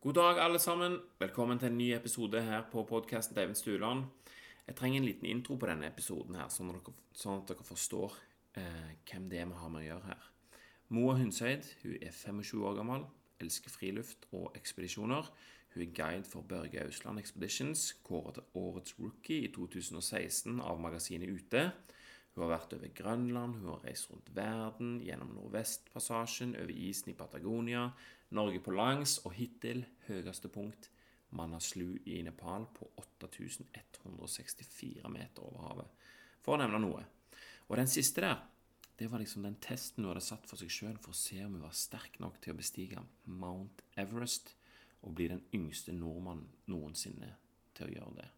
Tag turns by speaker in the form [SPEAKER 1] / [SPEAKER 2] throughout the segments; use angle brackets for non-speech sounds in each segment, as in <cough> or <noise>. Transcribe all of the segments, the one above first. [SPEAKER 1] God dag, alle sammen. Velkommen til en ny episode her på podkasten til Eivind Stuland. Jeg trenger en liten intro på denne episoden, her, sånn at dere, sånn at dere forstår eh, hvem det er vi har med å gjøre her. Moa Hundseid hun er 25 år gammel, elsker friluft og ekspedisjoner. Hun er guide for Børge Ausland Expeditions, kåret til årets rookie i 2016 av magasinet Ute. Hun har vært over Grønland, hun har reist rundt verden, gjennom Nordvestpassasjen, over isen i Patagonia, Norge på langs, og hittil høyeste punkt, Manaslu i Nepal, på 8164 meter over havet, for å nevne noe. Og den siste der, det var liksom den testen hun hadde satt for seg sjøl for å se om hun var sterk nok til å bestige Mount Everest og bli den yngste nordmannen noensinne til å gjøre det.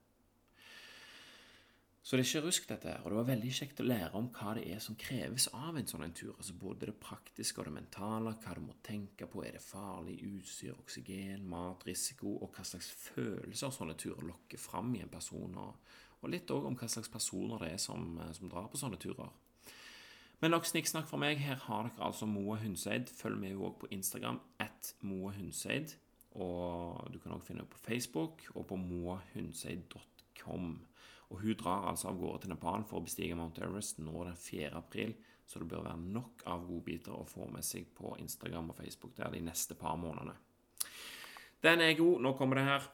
[SPEAKER 1] Så det er ikke rusk, dette her. Og det var veldig kjekt å lære om hva det er som kreves av en sånn en tur. Altså både det praktiske og det mentale, hva du må tenke på. Er det farlig? Utstyr, oksygen, mat, risiko? Og hva slags følelser sånne turer lokker fram i en person. Og, og litt òg om hva slags personer det er som, eh, som drar på sånne turer. Men nok snikksnakk fra meg. Her har dere altså Moa Hundseid. Følg med òg på Instagram at Moa Hundseid. Og du kan òg finne henne på Facebook og på moahundseid.com. Og hun drar altså av gårde til Nepal for å bestige Mount Everest nå den 4. april, så det bør være nok av godbiter å få med seg på Instagram og Facebook der de neste par månedene. Den er god. Nå kommer det her.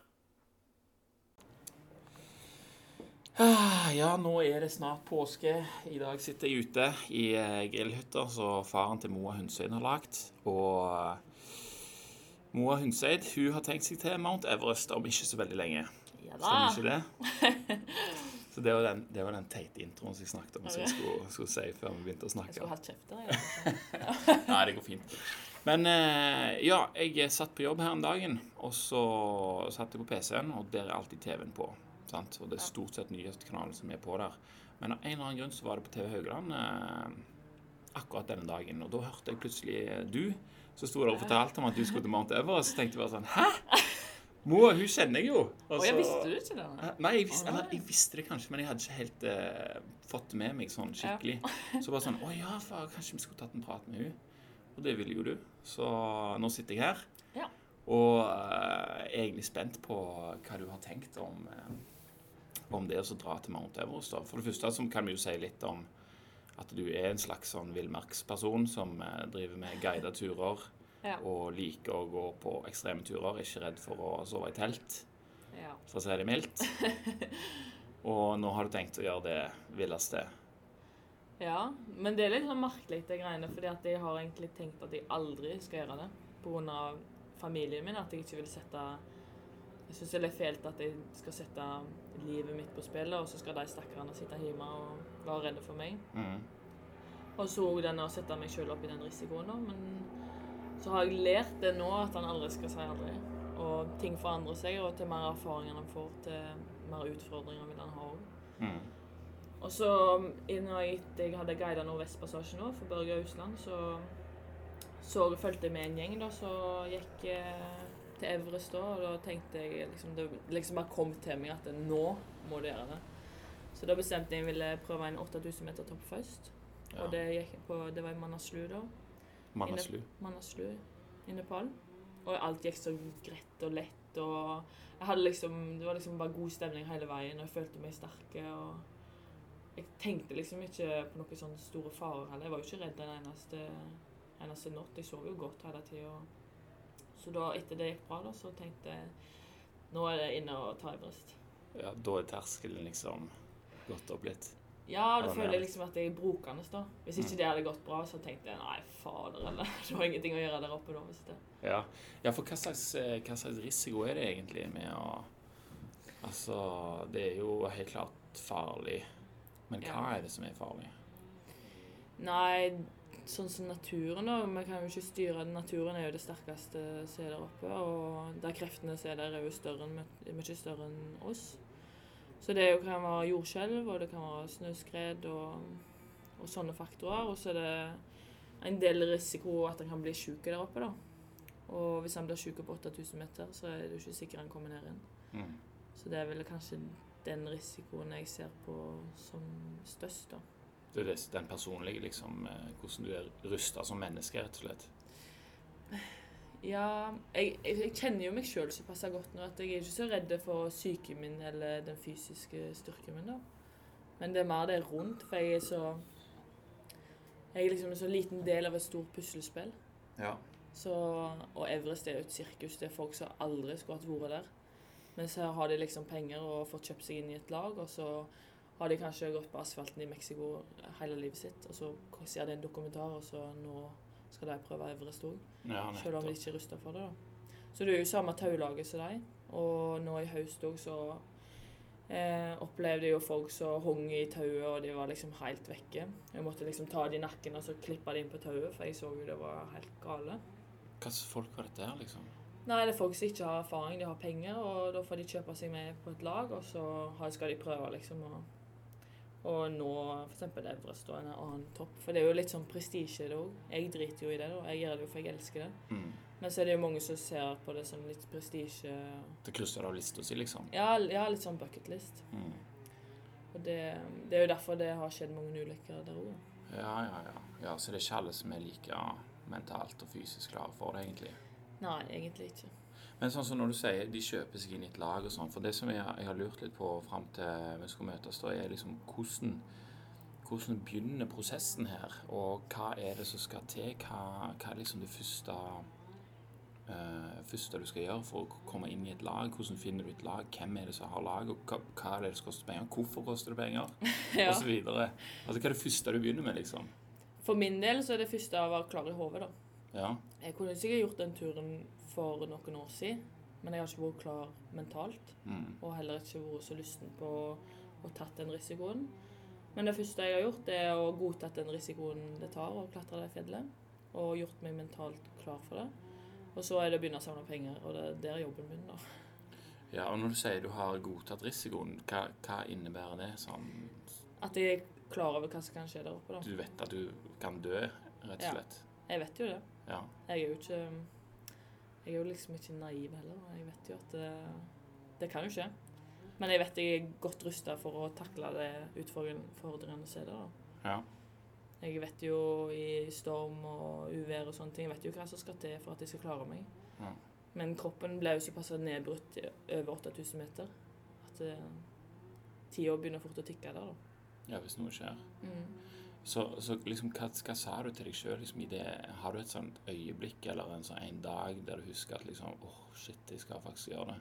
[SPEAKER 1] Ah, Ja, nå er det snart påske. I dag sitter jeg ute i eh, grillhytta som faren til Moa Hundseid har lagd. Og eh, Moa Hundseid hun har tenkt seg til Mount Everest om ikke så veldig lenge.
[SPEAKER 2] Ja
[SPEAKER 1] Stemmer
[SPEAKER 2] da.
[SPEAKER 1] ikke det?
[SPEAKER 2] <laughs>
[SPEAKER 1] Så det var den, det var den teite introen som jeg snakket om, som jeg skulle, skulle si før vi begynte å
[SPEAKER 2] Jeg skulle
[SPEAKER 1] snakke.
[SPEAKER 2] hatt kjeft der. jeg.
[SPEAKER 1] Nei, det går fint. Men eh, ja, jeg satt på jobb her om dagen, og så satt jeg på PC-en, og der er alltid TV-en på. Sant? Og det er stort sett nyhetskanalen som er på der. Men av en eller annen grunn så var det på TV Haugland eh, akkurat denne dagen, og da hørte jeg plutselig eh, du. Så sto der og fortalte om at du skulle til Mount Everest, så tenkte jeg bare sånn Hæ? Moa, hun kjenner jeg jo. Og
[SPEAKER 2] Å, jeg
[SPEAKER 1] så-
[SPEAKER 2] visste du ikke det?
[SPEAKER 1] Nei, jeg visste,
[SPEAKER 2] Å, nei.
[SPEAKER 1] eller, jeg visste det kanskje, men jeg hadde ikke helt eh, fått det med meg sånn
[SPEAKER 2] <laughs>
[SPEAKER 1] skikkelig. så bare sånn Å ja, far, kanskje vi skulle tatt en prat med hun Og det ville jo du. Så nå sitter jeg her.
[SPEAKER 2] Ja.
[SPEAKER 1] Og eh, er egentlig spent på hva du har tenkt om, eh, om det å dra til Mount Everest. Da. For det første så kan vi jo si litt om at du er en slags sånn villmarksperson som eh, driver med guidede turer
[SPEAKER 2] Ja.
[SPEAKER 1] og liker å gå på ekstreme turer. Ikke redd for å sove i telt
[SPEAKER 2] Ja.
[SPEAKER 1] for å si det <laughs> mildt. Og nå har du tenkt å gjøre det villeste.
[SPEAKER 2] ja. Men det er litt sånn merkelig, det greiene. fordi at jeg har egentlig tenkt at jeg aldri skal gjøre det. Pga. familien min. At jeg ikke vil sette Jeg syns det er litt fælt at jeg skal sette livet mitt på spill, og så skal de stakkarene sitte hjemme og være redde for meg.
[SPEAKER 1] Mm.
[SPEAKER 2] Og så også den å sette meg sjøl opp i den risikoen, da. Men så har jeg lært det nå, at han aldri skal si aldri. Og ting forandrer seg, og til mer erfaringer han får, til mer utfordringer vil han ha òg.
[SPEAKER 1] Mm.
[SPEAKER 2] Og så, innan jeg, jeg hadde guida Nordvestpassasjen nå, for Børge Ausland, så, så fulgte jeg med en gjeng da, så gikk eh, til Everest da, og da tenkte jeg liksom, det liksom bare kom til meg at nå må du gjøre det. Så da bestemte jeg ville prøve en 8000 meter topp først.
[SPEAKER 1] Ja.
[SPEAKER 2] Og det, gikk jeg på, det var i Manaslu da,
[SPEAKER 1] Manaslu.
[SPEAKER 2] Manaslu i Nepal. Og alt gikk så greit og lett, og jeg hadde liksom, det var liksom bare god stemning hele veien, og jeg følte meg sterke, og jeg tenkte liksom ikke på noen sånne store farer heller. Jeg var jo ikke redd den eneste, eneste natt, jeg sov jo godt hele tiden. Så da, etter det gikk bra da, så tenkte jeg, nå er det inne og ta Everest.
[SPEAKER 1] Ja, da er terskelen liksom gått opp litt.
[SPEAKER 2] Ja, da
[SPEAKER 1] Ja, Mm.
[SPEAKER 2] føler
[SPEAKER 1] men-
[SPEAKER 2] jeg liksom at jeg er brokende da. Hvis ikke det hadde gått bra, så tenkte jeg, nei, fader, eller, <laughs> det var ingenting å gjøre der oppe da, hvis det.
[SPEAKER 1] Ja, ja for hva slags, eh, hva slags risiko er det egentlig med å Altså, det er jo helt klart farlig. Men hva
[SPEAKER 2] Ja.
[SPEAKER 1] er det som er farlig?
[SPEAKER 2] Nei, sånn som naturen da, vi kan jo ikke styre den. Naturen er jo det sterkeste som er der oppe, og der kreftene som er der er jo større enn, mye større enn oss. Så det er jo- kan være jordskjelv, og det kan være snøskred og, og sånne faktorer. Og så er det en del risiko at han kan bli syk der oppe da. Og hvis han blir syk på 8000 meter, så er det jo ikke sikkert han kommer ned igjen.
[SPEAKER 1] Mm.
[SPEAKER 2] Så det er vel kanskje den risikoen jeg ser på som størst da.
[SPEAKER 1] Det er det, den personlige, liksom. eh, Hvordan du er rusta som menneske, rett og slett.
[SPEAKER 2] Ja, jeg, jeg, jeg kjenner jo meg sjøl såpass godt nå at jeg er ikke så redd for psyken min eller den fysiske styrken min. da. Men det er mer det rundt, for jeg er så Jeg er liksom en så liten del av et stort puslespill.
[SPEAKER 1] Ja.
[SPEAKER 2] Så, og Everest er jo et sirkus. Det er folk som aldri skulle hatt vært der. Mens her har de liksom penger og fått kjøpt seg inn i et lag, og så har de kanskje gått på asfalten i Mexico hele livet sitt, og så ser de en dokumentar, og så nå skal de prøve Everest òg.
[SPEAKER 1] ja
[SPEAKER 2] Selv om de
[SPEAKER 1] nettopp.
[SPEAKER 2] ikke er rusta for det, da. Så det er jo samme taulaget som de. Og nå i høst òg så eh, opplevde jeg jo folk som hang i tauet, og de var liksom helt vekke. Jeg måtte liksom ta de i nakken og så klippe de inn på tauet, for jeg så jo det var helt gale.
[SPEAKER 1] Hva slags folk var dette her, liksom?
[SPEAKER 2] Nei, det er folk som ikke har erfaring, de har penger, og da får de kjøpe seg med på et lag, og så har- skal de prøve, liksom, å og nå f.eks. Everest og en annen topp. For det er jo litt sånn prestisje, det òg. Jeg driter jo i det, da. Jeg gjør det jo for jeg elsker det.
[SPEAKER 1] Mm.
[SPEAKER 2] Men så er det jo mange som ser på det som litt prestisje
[SPEAKER 1] Det krysser av lista si, liksom.
[SPEAKER 2] ja, l- ja, litt sånn bucketlist.
[SPEAKER 1] Mm.
[SPEAKER 2] Og det, det er jo derfor det har skjedd mange ulykker der òg.
[SPEAKER 1] Ja, ja, ja, ja. Så det er ikke alle som er like mentalt og fysisk klare for det, egentlig.
[SPEAKER 2] Nei, egentlig ikke.
[SPEAKER 1] Men sånn som når du sier de kjøper seg inn i et lag og sånn, for det som jeg, jeg har lurt litt på fram til vi skal møtes, da er liksom hvordan hvordan begynner prosessen her, og hva er det som skal til? Hva, hva er liksom det første, eh, første du skal gjøre for å komme inn i et lag? Hvordan finner du et lag? Hvem er det som har lag? Og hva, hva er det som koster penger? Hvorfor koster det penger?
[SPEAKER 2] <laughs> Ja.
[SPEAKER 1] Og så videre. Altså, hva er det første du begynner med, liksom?
[SPEAKER 2] For min del så er det første å være klar i hodet, da.
[SPEAKER 1] Ja.
[SPEAKER 2] Jeg kunne sikkert gjort den turen for noen år siden, men jeg har ikke vært klar mentalt.
[SPEAKER 1] Mm.
[SPEAKER 2] Og heller ikke vært så lysten på å- å tatt den risikoen. Men det første jeg har gjort, er å godta den risikoen det tar å klatre det fjellet. Og gjort meg mentalt klar for det. Og så er det å begynne å samle penger, og det er der jobben begynner.
[SPEAKER 1] ja. Og når du sier du har godtatt risikoen, hva, hva innebærer det sånn
[SPEAKER 2] At jeg er klar over hva som kan skje der oppe, da.
[SPEAKER 1] Du vet at du kan dø, rett og
[SPEAKER 2] Ja.
[SPEAKER 1] slett.
[SPEAKER 2] Jeg vet jo det.
[SPEAKER 1] Ja.
[SPEAKER 2] Jeg er jo ikke Jeg er jo liksom ikke naiv heller. Jeg vet jo at det, det kan jo skje. Men jeg vet jeg er godt rusta for å takle det utfordrende som er der. da.
[SPEAKER 1] ja.
[SPEAKER 2] Jeg vet jo i storm og uvær og sånne ting, jeg vet jo hva som skal til for at jeg skal klare meg.
[SPEAKER 1] Ja.
[SPEAKER 2] Men kroppen ble jo såpass nedbrutt i over 8000 meter at eh, tida begynner fort å tikke der, da.
[SPEAKER 1] ja hvis noe skjer.
[SPEAKER 2] Mm.
[SPEAKER 1] Så, så liksom, hva, hva sa du til deg sjøl? Liksom, i det? har du et sånt øyeblikk eller en sånn en dag der du husker at liksom, åh, shit, jeg skal faktisk gjøre det?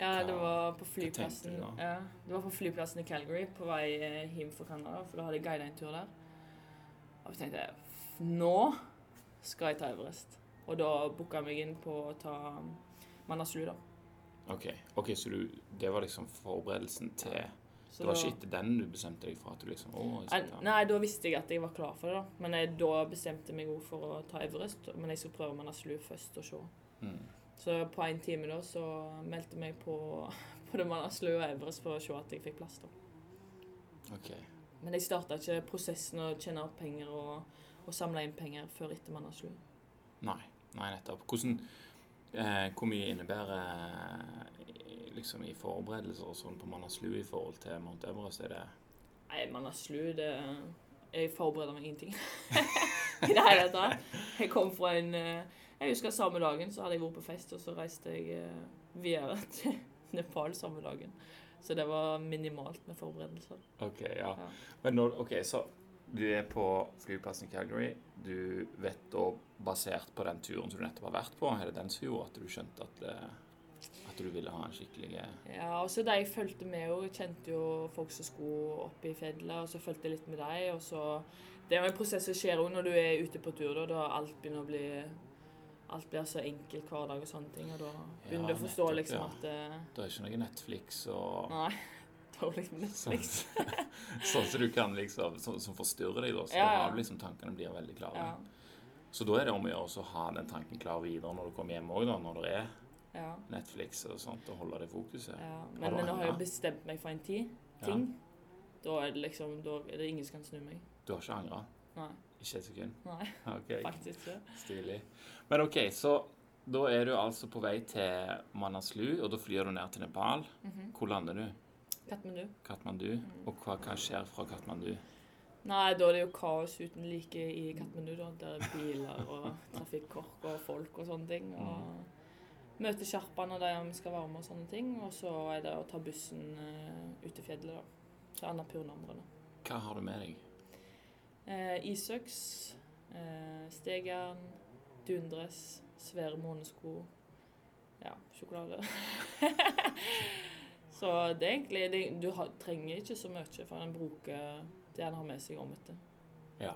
[SPEAKER 2] Ja, det var på
[SPEAKER 1] tenkte
[SPEAKER 2] flyplassen
[SPEAKER 1] du da?
[SPEAKER 2] ja, Det var på flyplassen i Calgary på vei eh, hjem fra Canada, for da hadde jeg guidet en tur der. Og så tenkte jeg "F- nå skal jeg ta Everest. Og da booka jeg meg inn på å ta um, Manaslu, da.
[SPEAKER 1] Ok, ok, så du, det var liksom forberedelsen til
[SPEAKER 2] Så
[SPEAKER 1] Det var
[SPEAKER 2] da-
[SPEAKER 1] ikke etter den du bestemte deg for at du liksom åh, jeg skal
[SPEAKER 2] Nei,
[SPEAKER 1] ta
[SPEAKER 2] Nei, da visste jeg at jeg var klar for det, da. Men jeg, da bestemte jeg meg òg for å ta Everest. Men jeg skal prøve Manaslu først og se.
[SPEAKER 1] Mm.
[SPEAKER 2] Så på en time da så meldte jeg meg på, <laughs> på det Manaslu og Everest for å se at jeg fikk plass, da.
[SPEAKER 1] Ok.
[SPEAKER 2] Men jeg starta ikke prosessen å tjene opp penger og, og samle inn penger før etter man har slu.
[SPEAKER 1] Nei. Nei, nettopp. Hvordan, eh, hvor mye innebærer eh, liksom i forberedelser og sånn på Manaslu i forhold til Mount Everest? Er det
[SPEAKER 2] Nei, man har slu, det Jeg forbereder meg ingenting. <laughs> I det hele tatt. Jeg kom fra en eh, Jeg husker samme dagen så hadde jeg vært på fest, og så reiste jeg eh, videre <laughs> til Nepal samme dagen. Så det var minimalt med forberedelser.
[SPEAKER 1] Ok, ja.
[SPEAKER 2] Ja.
[SPEAKER 1] Men når, ok, så du er på flyplassen i Calgary. Du vet da, basert på den turen som du nettopp har vært på, er det den som gjorde at du skjønte at, eh, at du ville ha en skikkelig eh,
[SPEAKER 2] Ja, og så de jeg fulgte med òg. Jeg kjente jo folk som skulle opp i fjellet, og så fulgte jeg litt med dem. Og så Det er jo en prosess som skjer òg når du er ute på tur, da, da alt begynner å bli Alt blir så enkelt hver dag og sånne ting, og da begynner
[SPEAKER 1] Ja,
[SPEAKER 2] du å forstå
[SPEAKER 1] nettopp,
[SPEAKER 2] liksom
[SPEAKER 1] ja.
[SPEAKER 2] at eh,
[SPEAKER 1] Det er ikke noe Netflix og
[SPEAKER 2] Nei, det var liksom
[SPEAKER 1] sånn,
[SPEAKER 2] Netflix.
[SPEAKER 1] <laughs> sånn som du kan liksom Som, som forstyrrer deg, da. Så
[SPEAKER 2] Ja,
[SPEAKER 1] da
[SPEAKER 2] ja.
[SPEAKER 1] har du liksom tankene blir veldig klare.
[SPEAKER 2] Ja,
[SPEAKER 1] Så da er det om å gjøre også å ha den tanken klar videre når du kommer hjem òg, da. Når det er
[SPEAKER 2] ja,
[SPEAKER 1] Netflix og sånt, og holde det fokuset.
[SPEAKER 2] ja.
[SPEAKER 1] Har
[SPEAKER 2] Men
[SPEAKER 1] du
[SPEAKER 2] nå har jeg
[SPEAKER 1] angret?
[SPEAKER 2] bestemt meg for en tid, ting. Da er det liksom Da er det ingen som kan snu meg.
[SPEAKER 1] Du har ikke angra?
[SPEAKER 2] Nei.
[SPEAKER 1] Ikke et sekund? <laughs>
[SPEAKER 2] Nei,
[SPEAKER 1] Ok,
[SPEAKER 2] faktisk ikke.
[SPEAKER 1] Stilig. Men OK, så da er du altså på vei til Manaslu, og da flyr du ned til Nepal.
[SPEAKER 2] Mhm.
[SPEAKER 1] Hvor lander du?
[SPEAKER 2] Katmandu.
[SPEAKER 1] Katmandu. Og hva, hva skjer fra Katmandu?
[SPEAKER 2] Nei, da er det jo kaos uten like i Katmandu. da. Der er biler og trafikkork og folk og sånne ting.
[SPEAKER 1] Mm.
[SPEAKER 2] Og møte sherpaene og de vi skal være med og sånne ting. Og så er det å ta bussen eh, ut til fjellet, da. Til Annapurna-området.
[SPEAKER 1] Hva har du med deg?
[SPEAKER 2] Eh, Isøks, eh, Stegern, dundress, svære månesko. Ja, sjokolade. <laughs> så det er egentlig det, Du har, trenger ikke så mye, for han bruker det han har med seg om etter.
[SPEAKER 1] Ja.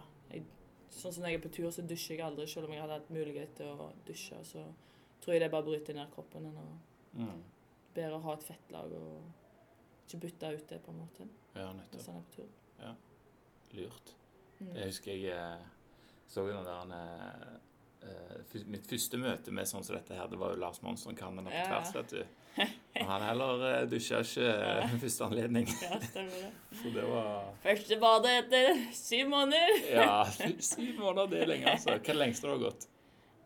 [SPEAKER 2] Sånn som når jeg er på tur, så dusjer jeg aldri, selv om jeg hadde hatt mulighet til å dusje. Så tror jeg det bare bryter ned kroppen. enn å-
[SPEAKER 1] Mm.
[SPEAKER 2] Bedre å ha et fettlag og ikke bytte ut det, på en måte,
[SPEAKER 1] Ja,
[SPEAKER 2] hvis
[SPEAKER 1] nettopp.
[SPEAKER 2] han er på tur.
[SPEAKER 1] Lurt.
[SPEAKER 2] Mm.
[SPEAKER 1] Jeg husker jeg eh, så jo den der eh, eh, fyr- Mitt første møte med sånn som dette her, det var jo Lars Monsson Cannon på
[SPEAKER 2] Ja.
[SPEAKER 1] tvers, vet du.
[SPEAKER 2] <laughs>
[SPEAKER 1] Og han heller eh, dusja ikke ved første anledning.
[SPEAKER 2] Ja, stemmer det.
[SPEAKER 1] Så det var
[SPEAKER 2] Første badet etter syv måneder.
[SPEAKER 1] Ja, <laughs> syv måneder, det er lenge, altså. Hva er det lengste du har gått?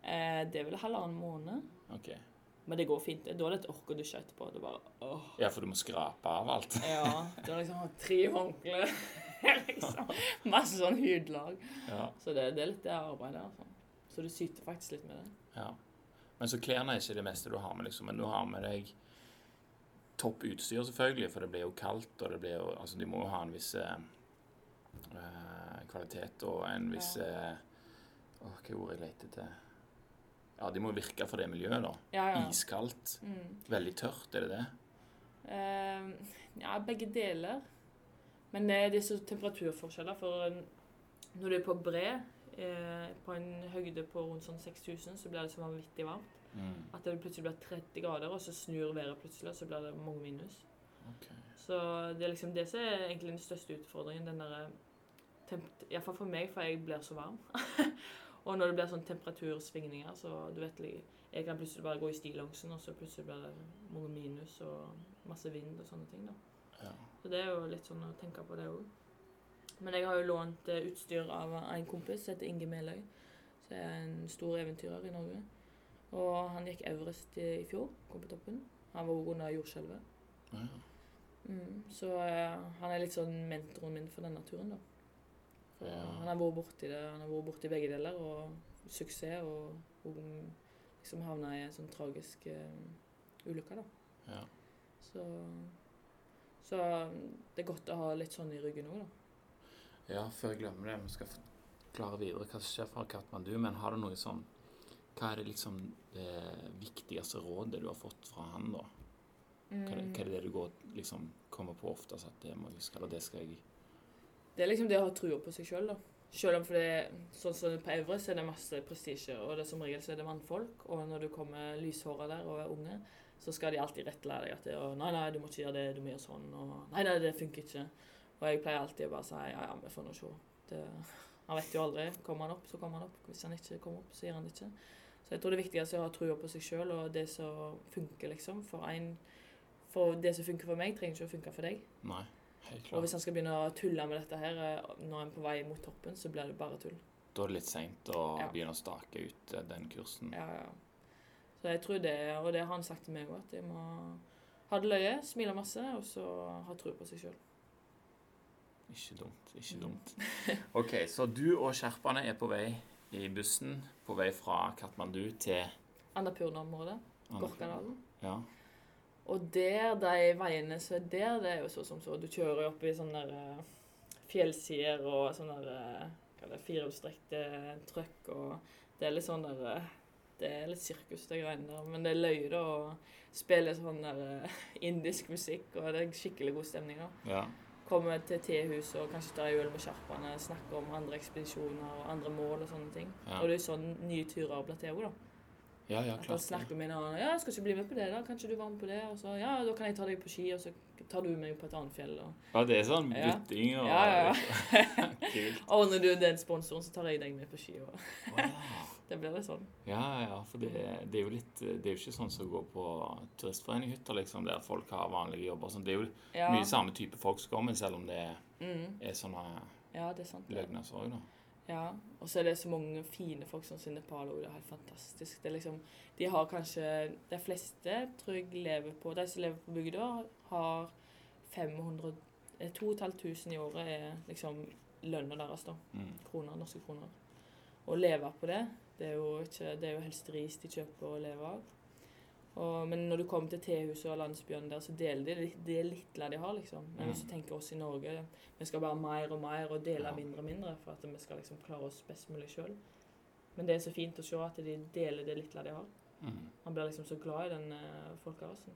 [SPEAKER 2] Eh, det er vel halvannen måned.
[SPEAKER 1] Ok.
[SPEAKER 2] Men det går fint. Da er det et ork å dusje etterpå. Det er bare åh.
[SPEAKER 1] Ja, for du må skrape av alt.
[SPEAKER 2] Ja, det er liksom tre håndklær. <laughs> liksom. Masse sånn hudlag.
[SPEAKER 1] Ja,
[SPEAKER 2] Så det, det er litt det arbeidet. Altså. Så du syter faktisk litt med det.
[SPEAKER 1] ja. Men så klærne er ikke det meste du har med, liksom. Men du har med deg topp utstyr, selvfølgelig, for det blir jo kaldt, og det blir jo Altså, de må jo ha en viss eh, eh, kvalitet og en viss
[SPEAKER 2] Ja.
[SPEAKER 1] eh, Åh, hva ord jeg leter etter? Ja, de må virke for det miljøet, da.
[SPEAKER 2] Ja, ja.
[SPEAKER 1] Iskaldt.
[SPEAKER 2] Mm.
[SPEAKER 1] Veldig tørt, er det det?
[SPEAKER 2] Eh, ja, begge deler. Men eh, det er så temperaturforskjeller. For en- når du er på bre, eh, på en høyde på rundt sånn 6000, så blir det så vanvittig varmt.
[SPEAKER 1] Mm.
[SPEAKER 2] At det plutselig blir 30 grader, og så snur været plutselig, og så blir det mange minus.
[SPEAKER 1] Ok.
[SPEAKER 2] Så det er liksom det som er egentlig den største utfordringen. den der temp- i hvert fall for meg, for jeg blir så varm. <laughs> og når det blir sånn temperatursvingninger, så du vet li- Jeg kan plutselig bare gå i stillongsen, og så plutselig blir det mange minus og masse vind og sånne ting. da.
[SPEAKER 1] Ja.
[SPEAKER 2] Så det er jo litt sånn å tenke på det òg. Men jeg har jo lånt eh, utstyr av en kompis som heter Inge Meløy. Som er en stor eventyrer i Norge. Og han gikk Everest i i fjor, kom på toppen. Han var også under jordskjelvet.
[SPEAKER 1] Ja.
[SPEAKER 2] Mm, så eh, han er litt sånn mentoren min for denne turen, da. For eh,
[SPEAKER 1] Ja.
[SPEAKER 2] Han har vært borti det, han har vært borti begge deler, og suksess, og, og liksom havna i en sånn tragisk eh, ulykke, da.
[SPEAKER 1] ja.
[SPEAKER 2] Så, så det er godt å ha litt sånn i ryggen òg, da.
[SPEAKER 1] Ja, før jeg glemmer det, vi skal forklare videre hva som skjer fra Katmandu, men har du noe sånn Hva er det liksom det viktigste rådet du har fått fra han, da? Hva
[SPEAKER 2] Mm.
[SPEAKER 1] er det, hva er det du går, liksom, kommer på oftest at det må jeg huske, eller det skal jeg
[SPEAKER 2] Det er liksom det å ha trua på seg sjøl, da. Selv om for det, sånn som på Evre, så er det masse prestisje, og det som regel så er det mannfolk. Og når du kommer lyshåra der og er unge, så skal de alltid rettlære deg at det, er, nei, nei, du må ikke gjøre det, du må gjøre sånn, og nei, nei, det funker ikke. Og jeg pleier alltid å bare si ja, ja, vi får nå se. Det, han vet jo aldri. Kommer han opp, så kommer han opp. Hvis han ikke kommer opp, så gjør han det ikke. Så jeg tror det viktigste er å ha trua på seg sjøl og det som funker, liksom. For, en, for det som funker for meg, trenger ikke å funke for deg.
[SPEAKER 1] Nei, helt
[SPEAKER 2] Og
[SPEAKER 1] klart.
[SPEAKER 2] hvis han skal begynne å tulle med dette her eh, når han er på vei mot toppen, så blir det bare tull.
[SPEAKER 1] Da er det litt seint å
[SPEAKER 2] Ja.
[SPEAKER 1] begynne å stake ut eh, den kursen.
[SPEAKER 2] Ja, ja. Så jeg tror det, og det har han sagt til meg òg, at jeg må ha det løye, smile masse, og så ha tro på seg sjøl.
[SPEAKER 1] Ikke dumt, ikke
[SPEAKER 2] Mm.
[SPEAKER 1] dumt.
[SPEAKER 2] <laughs>
[SPEAKER 1] OK, så du og sherpaene er på vei i bussen, på vei fra Katmandu til
[SPEAKER 2] Annapurna-området, Gorkadalen.
[SPEAKER 1] Ja.
[SPEAKER 2] Og der, de veiene som er der, det er jo så som så. Du kjører jo opp i sånne der eh, fjellsider og sånne der eh, hva er det, firehjulstrekte trøkk og Det er litt sånn der eh, Det er litt sirkus, de greiene der. Men det er løye, da, og spiller sånn der eh, indisk musikk, og det er skikkelig god stemning. da.
[SPEAKER 1] ja.
[SPEAKER 2] Kommer til tehuset og kanskje tar en øl med sjarpene, snakker om andre ekspedisjoner og andre mål og sånne ting.
[SPEAKER 1] Ja.
[SPEAKER 2] Og det er jo sånn nye turer blir til òg, da.
[SPEAKER 1] Ja, ja,
[SPEAKER 2] At han
[SPEAKER 1] klart. det.
[SPEAKER 2] snakker med en annen. 'Ja, jeg skal ikke bli med på det, da. Kan ikke du være med på det?' Og så 'Ja, da kan jeg ta deg på ski, og så tar du meg på et annet fjell', og
[SPEAKER 1] Ja, det er sånn
[SPEAKER 2] Ja.
[SPEAKER 1] bytting og
[SPEAKER 2] Ja, ja,
[SPEAKER 1] <laughs> Kult.
[SPEAKER 2] Og når du er den sponsoren, så tar jeg deg med på ski, og
[SPEAKER 1] Wow.
[SPEAKER 2] <laughs> det blir litt sånn.
[SPEAKER 1] Ja, ja, for det, det er jo litt Det er jo ikke sånn som å gå på turistforeninghytter, liksom, der folk har vanlige jobber. og Sånn. Det er jo
[SPEAKER 2] Ja.
[SPEAKER 1] mye samme type folk som kommer, selv om det
[SPEAKER 2] Mm.
[SPEAKER 1] er sånne
[SPEAKER 2] Ja, det er sant. det.
[SPEAKER 1] løgner òg, da.
[SPEAKER 2] Ja. Og så er det så mange fine folk som i Nepal òg. Det er helt fantastisk. Det er liksom De har kanskje De fleste, tror jeg, lever på De som lever på bygda, har 500 eh, 2500 i året er liksom lønna deres, da.
[SPEAKER 1] Mm.
[SPEAKER 2] Kroner, norske kroner. Å leve på det, det er jo, ikke, det er jo helst ris de kjøper å leve av. Og, men når du kommer til tehuset og landsbyene der, så deler de litt- det lille de har, liksom. Men
[SPEAKER 1] Mm.
[SPEAKER 2] hvis du tenker oss i Norge, vi skal bare mer og mer og dele
[SPEAKER 1] Ja.
[SPEAKER 2] mindre og mindre for at vi skal liksom klare oss best mulig sjøl. Men det er så fint å se at de deler det lille de har.
[SPEAKER 1] Mm.
[SPEAKER 2] Han blir liksom så glad i den eh, folkerasen.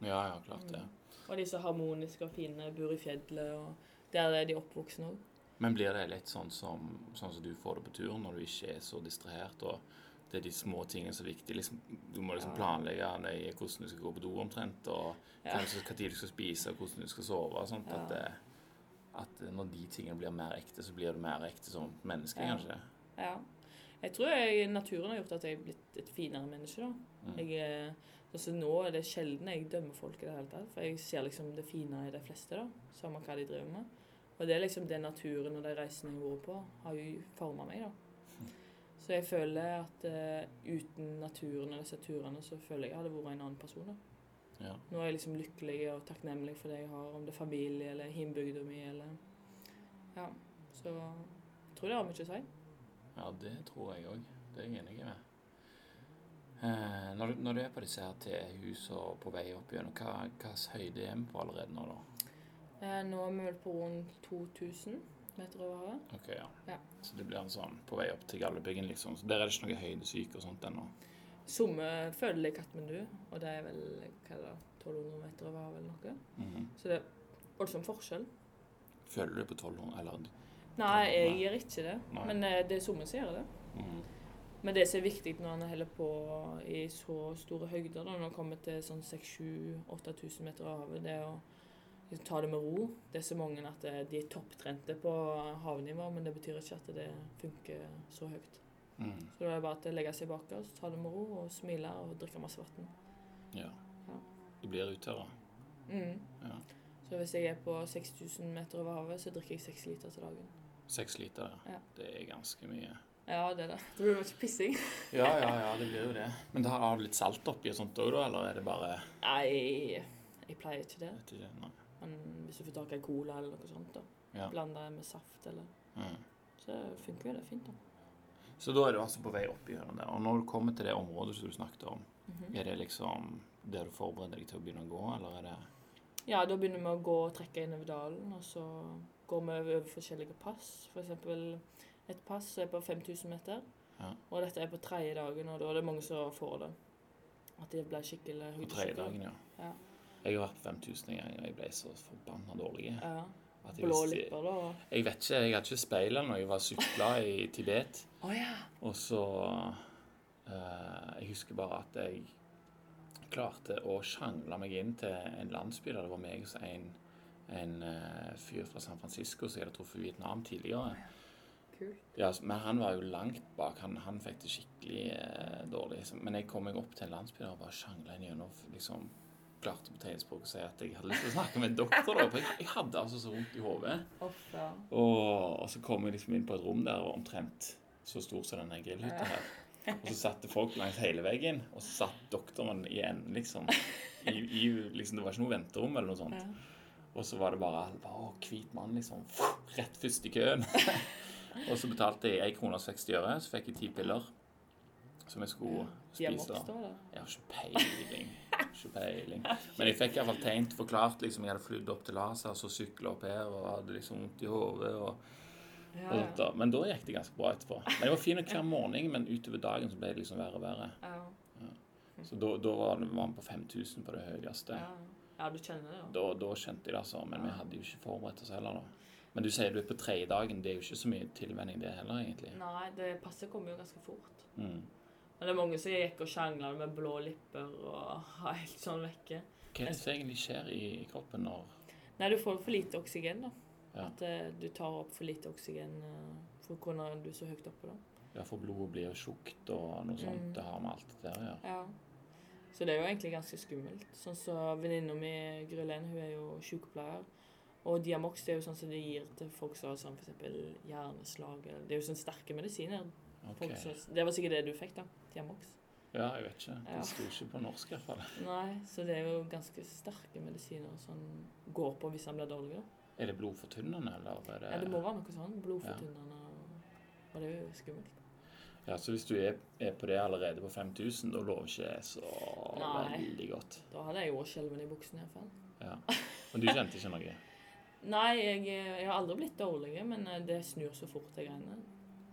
[SPEAKER 1] Ja, ja, klart det.
[SPEAKER 2] Mm. Og de er så harmoniske og fine, bor i fjellet, og der er de oppvoksne òg.
[SPEAKER 1] Men blir det litt sånn som, sånn som du får det på turen, når du ikke er så distrahert, og det er de små tingene som er viktige? Liksom, du må liksom
[SPEAKER 2] Ja.
[SPEAKER 1] planlegge nøye hvordan du skal gå på do omtrent, og
[SPEAKER 2] Ja.
[SPEAKER 1] kanskje hva tid du skal spise, og hvordan du skal sove og sånt.
[SPEAKER 2] Ja.
[SPEAKER 1] At, det, at når de tingene blir mer ekte, så blir du mer ekte som menneske,
[SPEAKER 2] Ja.
[SPEAKER 1] kanskje.
[SPEAKER 2] Ja. Jeg tror jeg, naturen har gjort at jeg er blitt et finere menneske. da.
[SPEAKER 1] Mm.
[SPEAKER 2] Jeg, er- altså Nå er det sjelden jeg dømmer folk i det hele tatt, for jeg ser liksom det fine i de fleste. da, Samme hva de driver med. Og det er liksom det naturen og de reisene jeg har vært på, har jo forma meg. da. Så jeg føler at eh, uten naturen og disse turene, så føler jeg jeg hadde vært en annen person. da.
[SPEAKER 1] Ja.
[SPEAKER 2] Nå er jeg liksom lykkelig og takknemlig for det jeg har, om det er familie eller hjembygda mi eller Ja. Så jeg tror det har mye å si.
[SPEAKER 1] Ja, det tror jeg òg. Det er jeg enig med. Eh, når, du, når du er på disse her tehusene og på vei opp igjennom, hva hvilken høyde er vi på allerede nå, da?
[SPEAKER 2] Eh, Nå er vi vel på rundt 2000 meter over havet.
[SPEAKER 1] Ok, ja.
[SPEAKER 2] Ja.
[SPEAKER 1] Så det blir en sånn på vei opp til Galdhøpiggen, liksom. Så der er det ikke noe høydesyke og sånt ennå.
[SPEAKER 2] Somme føler jeg Katmandu, og det er vel hva er det, 1200 meter over havet eller noe. Så det er voldsom forskjell.
[SPEAKER 1] Mhm. Føler du på 1200, eller
[SPEAKER 2] Nei, jeg
[SPEAKER 1] Nei.
[SPEAKER 2] gjør ikke det,
[SPEAKER 1] Nei.
[SPEAKER 2] men eh, det er somme som gjør det.
[SPEAKER 1] Mhm.
[SPEAKER 2] Men det som er viktig når en holder på i så store høyder, da, når en kommer til sånn 6000-8000 meter over havet, det er å liksom ta det med ro. Det er så mange at eh, de er topptrente på havnivå, men det betyr ikke at det funker så høyt.
[SPEAKER 1] Mhm.
[SPEAKER 2] Så da er det bare til å legge seg bak oss, ta det med ro og smile og drikke masse vann.
[SPEAKER 1] Ja.
[SPEAKER 2] Ja.
[SPEAKER 1] Du blir utørra.
[SPEAKER 2] Mm.
[SPEAKER 1] Ja.
[SPEAKER 2] Så hvis jeg er på 6000 meter over havet, så drikker jeg seks liter til dagen.
[SPEAKER 1] Seks liter,
[SPEAKER 2] Ja.
[SPEAKER 1] Det er ganske mye.
[SPEAKER 2] Ja, det er det. Det blir jo ikke pissing.
[SPEAKER 1] Ja, ja, ja, det blir jo det. Men da har du litt salt oppi og sånt òg, da? Eller er det bare
[SPEAKER 2] Nei, jeg pleier ikke det.
[SPEAKER 1] Vet ikke. Nei.
[SPEAKER 2] Men hvis du får tak i en cola eller noe sånt, da.
[SPEAKER 1] Ja.
[SPEAKER 2] Bland det med saft eller
[SPEAKER 1] Mhm.
[SPEAKER 2] Så funker jo det fint, da.
[SPEAKER 1] Så da er du altså på vei opp igjennom der. Og når du kommer til det området som du snakket om,
[SPEAKER 2] Mhm.
[SPEAKER 1] er det liksom der du forbereder deg til å begynne å gå, eller er det
[SPEAKER 2] Ja, da begynner vi å gå og trekke innover dalen, og så går vi over, over forskjellige pass. For eksempel et pass som er på 5000 meter,
[SPEAKER 1] Ja.
[SPEAKER 2] og dette er på tredje dagen, og da er det mange som får det. At det blir skikkelig
[SPEAKER 1] på
[SPEAKER 2] høydesyke.
[SPEAKER 1] tredje dagen, ja?
[SPEAKER 2] Ja.
[SPEAKER 1] Jeg har vært på 5000 en gang, og jeg ble så forbanna dårlig.
[SPEAKER 2] Ja.
[SPEAKER 1] At jeg,
[SPEAKER 2] Blå
[SPEAKER 1] visste-
[SPEAKER 2] lipper, da. og-
[SPEAKER 1] jeg vet ikke, jeg hadde ikke speil da jeg var sykla i Tibet.
[SPEAKER 2] Å ja.
[SPEAKER 1] Og så eh, Jeg husker bare at jeg klarte å sjangle meg inn til en landsby der det var meg og så en, en eh, fyr fra San Francisco som jeg hadde truffet i Vietnam tidligere.
[SPEAKER 2] Kult.
[SPEAKER 1] Ja, men han var jo langt bak. Han, han fikk det skikkelig eh, dårlig. Så- Men jeg kom meg opp til en landsby der og bare sjangla inn gjennom. liksom Klarte på tegnspråk å si at jeg hadde lyst til å snakke med en doktor. da, for Jeg, jeg hadde altså så vondt i hodet.
[SPEAKER 2] Uff, ja.
[SPEAKER 1] Og, og så kom jeg liksom inn på et rom der og omtrent så stor som denne grillhytta her. Og så satt det folk langs hele veggen, og så satt doktoren i enden, liksom. I, i, liksom det var ikke noe venterom eller noe sånt.
[SPEAKER 2] ja.
[SPEAKER 1] Og så var det bare Å, hvit mann, liksom. Rett først i køen. <laughs> Og så betalte jeg 1 krone og 60 øre, så fikk jeg ti piller som jeg skulle
[SPEAKER 2] De er
[SPEAKER 1] spise.
[SPEAKER 2] vokst, da. da.
[SPEAKER 1] Jeg har ikke peiling. Ikke peiling. Men jeg fikk iallfall tegnet forklart. liksom Jeg hadde flydd opp til Lasa og så sykla opp her og hadde liksom vondt i hodet. og og sånt
[SPEAKER 2] Ja.
[SPEAKER 1] da. Men da gikk det ganske bra etterpå. Men Jeg var fin hver morgen, men utover dagen så ble det liksom verre og verre.
[SPEAKER 2] Ja.
[SPEAKER 1] Så da, da var det- var vi på 5000 på det høyeste.
[SPEAKER 2] Ja. ja, du kjenner det, da.
[SPEAKER 1] Da, da kjente jeg det, altså. Men vi hadde jo ikke forberedt oss heller, da. Men du sier du er på tredje dagen. Det er jo ikke så mye tilvenning, det heller, egentlig.
[SPEAKER 2] Nei, det passet kommer jo ganske fort.
[SPEAKER 1] Mm.
[SPEAKER 2] Men det er mange som gikk og sjangla med blå lipper og <laughs> helt sånn vekke.
[SPEAKER 1] Hva er det som egentlig skjer i, i kroppen når
[SPEAKER 2] Nei, du får for lite oksygen, da.
[SPEAKER 1] Ja.
[SPEAKER 2] At eh, du tar opp for lite oksygen eh, for hvordan er du så høyt oppe, da.
[SPEAKER 1] ja, for blodet blir tjukt og noe sånt?
[SPEAKER 2] Mm.
[SPEAKER 1] Det har med alt det der å gjøre.
[SPEAKER 2] Ja. Så det er jo egentlig ganske skummelt. Sånn som så venninna mi Grylén, hun er jo sykepleier. Og Diamox det er jo sånn som de gir til folk som har sånn f.eks. hjerneslag eller- Det er jo sånn sterke medisiner.
[SPEAKER 1] Ok.
[SPEAKER 2] Folk som, det var sikkert det du fikk, da. Diamox.
[SPEAKER 1] Ja, jeg vet ikke.
[SPEAKER 2] Ja.
[SPEAKER 1] Det sto ikke på norsk, iallfall.
[SPEAKER 2] Nei, så det er jo ganske sterke medisiner som går på hvis han blir dårlig. da.
[SPEAKER 1] Er det blodfortynnende, eller er det
[SPEAKER 2] Ja, det må være noe sånn blodfortynnende. Og det er jo skummelt.
[SPEAKER 1] Ja, så hvis du er, er på det allerede på 5000, da lover ikke jeg så
[SPEAKER 2] Nei.
[SPEAKER 1] veldig godt.
[SPEAKER 2] Da hadde jeg jo skjelven i buksen i hvert fall.
[SPEAKER 1] Ja. Men du kjente ikke noe?
[SPEAKER 2] Nei, jeg, jeg har aldri blitt dårlig, men eh, det snur så fort, de greiene.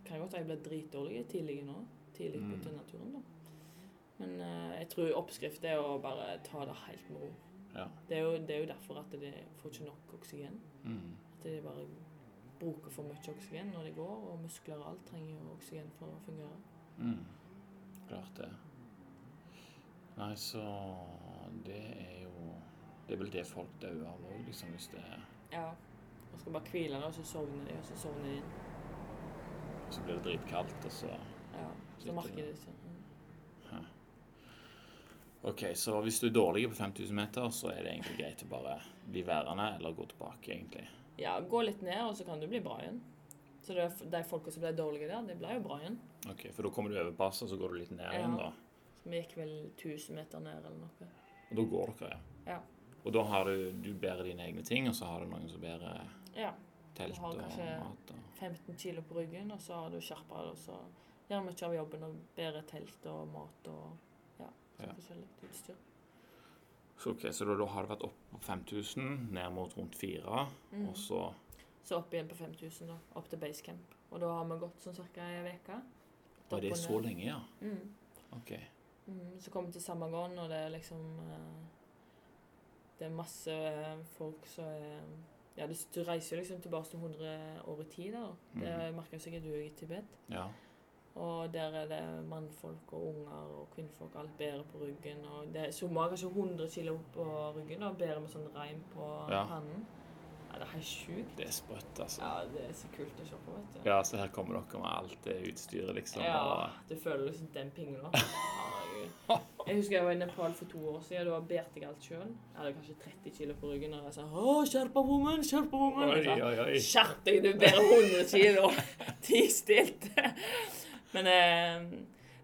[SPEAKER 2] Kan godt at jeg ble dritdårlig tidlig nå. Tidlig
[SPEAKER 1] Mm.
[SPEAKER 2] ute i naturen, da. Men eh, jeg tror oppskrift er å bare ta det helt med ro.
[SPEAKER 1] Ja.
[SPEAKER 2] Det er jo, det er jo derfor at de får ikke nok oksygen.
[SPEAKER 1] Mm.
[SPEAKER 2] At de bare bruker for mye oksygen når de går, og muskler og alt trenger jo oksygen for å fungere.
[SPEAKER 1] Mm. Klart det. Nei, så det er jo Det er vel det folk dør av òg, liksom, hvis det er
[SPEAKER 2] Ja. Og skal bare hvile deg, og så sovner de, og så sovner de inn.
[SPEAKER 1] Så blir det dritkaldt, og så
[SPEAKER 2] Ja. Så
[SPEAKER 1] Litt
[SPEAKER 2] merker
[SPEAKER 1] det.
[SPEAKER 2] de seg. Mm.
[SPEAKER 1] OK, så hvis du er dårlig på 5000 meter, så er det egentlig greit å bare bli værende eller gå tilbake, egentlig.
[SPEAKER 2] Ja, gå litt ned, og så kan du bli bra igjen. Så det, er- de folka som ble dårlige der, de ble jo bra igjen.
[SPEAKER 1] Ok, For da kommer du over passet, og så går du litt ned igjen,
[SPEAKER 2] Ja.
[SPEAKER 1] da.
[SPEAKER 2] Så vi gikk vel 1000 meter ned eller noe.
[SPEAKER 1] Og da går dere,
[SPEAKER 2] Ja.
[SPEAKER 1] Og da har du, du bærer dine egne ting, og så har du noen som bærer
[SPEAKER 2] Ja.
[SPEAKER 1] telt
[SPEAKER 2] Du har
[SPEAKER 1] og
[SPEAKER 2] kanskje-
[SPEAKER 1] mat. Og...
[SPEAKER 2] 15 kilo på ryggen, og så har du skjerpa deg, og så gjør mye av jobben og bærer telt og mat og ja, så
[SPEAKER 1] Ja.
[SPEAKER 2] forskjellig utstyr.
[SPEAKER 1] Så, ok, så da, da har du vært opp på 5000, ned mot rundt 4,
[SPEAKER 2] Mm.
[SPEAKER 1] og så
[SPEAKER 2] Så opp igjen på 5000, da. Opp til basecamp. Og da har vi gått sånn ca. ei uke.
[SPEAKER 1] Og det er så lenge, ja?
[SPEAKER 2] Mm.
[SPEAKER 1] Ok.
[SPEAKER 2] Mm, så kommer vi til Samagon, og det er liksom eh, Det er masse eh, folk som er Ja, du, du reiser jo liksom tilbake til 100 år i tid, da. Det
[SPEAKER 1] Mhm.
[SPEAKER 2] merker jo sikkert du er i Tibet.
[SPEAKER 1] Ja.
[SPEAKER 2] Og der er det mannfolk og unger og kvinnfolk, alt bærer på ryggen. Og det er så mange, kanskje 100 kilo på ryggen, og bærer med sånn reim på
[SPEAKER 1] Ja.
[SPEAKER 2] pannen. Ja, det er helt sjukt.
[SPEAKER 1] Det er sprøtt, altså.
[SPEAKER 2] Ja, det er så kult å se på, vet du.
[SPEAKER 1] Ja, så her kommer dere med alt det utstyret, liksom.
[SPEAKER 2] Ja,
[SPEAKER 1] Og,
[SPEAKER 2] du føler liksom den
[SPEAKER 1] <laughs>
[SPEAKER 2] pingla. Herregud. Jeg husker jeg var i Nepal for to år siden. Da bærte jeg alt sjøl. Jeg hadde kanskje 30 kilo på ryggen. Og jeg sa «Å, 'Skjerpa, woman! Skjerpa, woman!'
[SPEAKER 1] oi,
[SPEAKER 2] Jeg sa,
[SPEAKER 1] oi, oi.
[SPEAKER 2] Skjerp deg, du bærer 100 kilo! <laughs> Ti stilte! Men eh,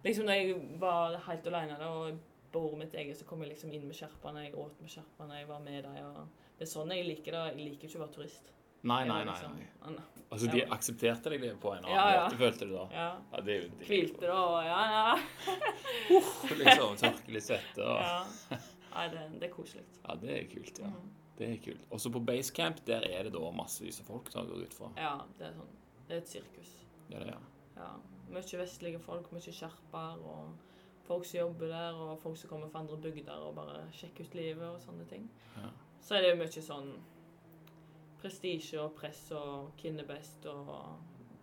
[SPEAKER 2] liksom når jeg var helt alene da, og bordet mitt eget, så kom jeg liksom inn med skjerpene. Jeg åt med skjerpene, jeg var med dem. og Det er sånn jeg liker det. Jeg liker ikke å være turist.
[SPEAKER 1] Nei,
[SPEAKER 2] Jeg
[SPEAKER 1] nei,
[SPEAKER 2] var
[SPEAKER 1] nei.
[SPEAKER 2] liksom-
[SPEAKER 1] nei.
[SPEAKER 2] Ah, nei.
[SPEAKER 1] Altså, de aksepterte deg det på en annen
[SPEAKER 2] Ja, ja.
[SPEAKER 1] måte, følte du da?
[SPEAKER 2] Ja.
[SPEAKER 1] Ja, det er jo det.
[SPEAKER 2] Hvilte da, og ja, ja.
[SPEAKER 1] <laughs> Liksom tørke litt svette og
[SPEAKER 2] Ja. Nei, det, det er koselig.
[SPEAKER 1] Ja, det er kult, ja.
[SPEAKER 2] Mhm.
[SPEAKER 1] Det er kult. Også på Basecamp, der er det da massevis av folk, da, går jeg ut fra.
[SPEAKER 2] Ja, det er sånn. Det er et sirkus.
[SPEAKER 1] Ja, det er.
[SPEAKER 2] Ja. Mye vestlige folk, mye skjerper og folk som jobber der, og folk som kommer fra andre bygder og bare sjekker ut livet og sånne ting.
[SPEAKER 1] Ja.
[SPEAKER 2] Så er det jo mye sånn prestisje og press og hvem er best og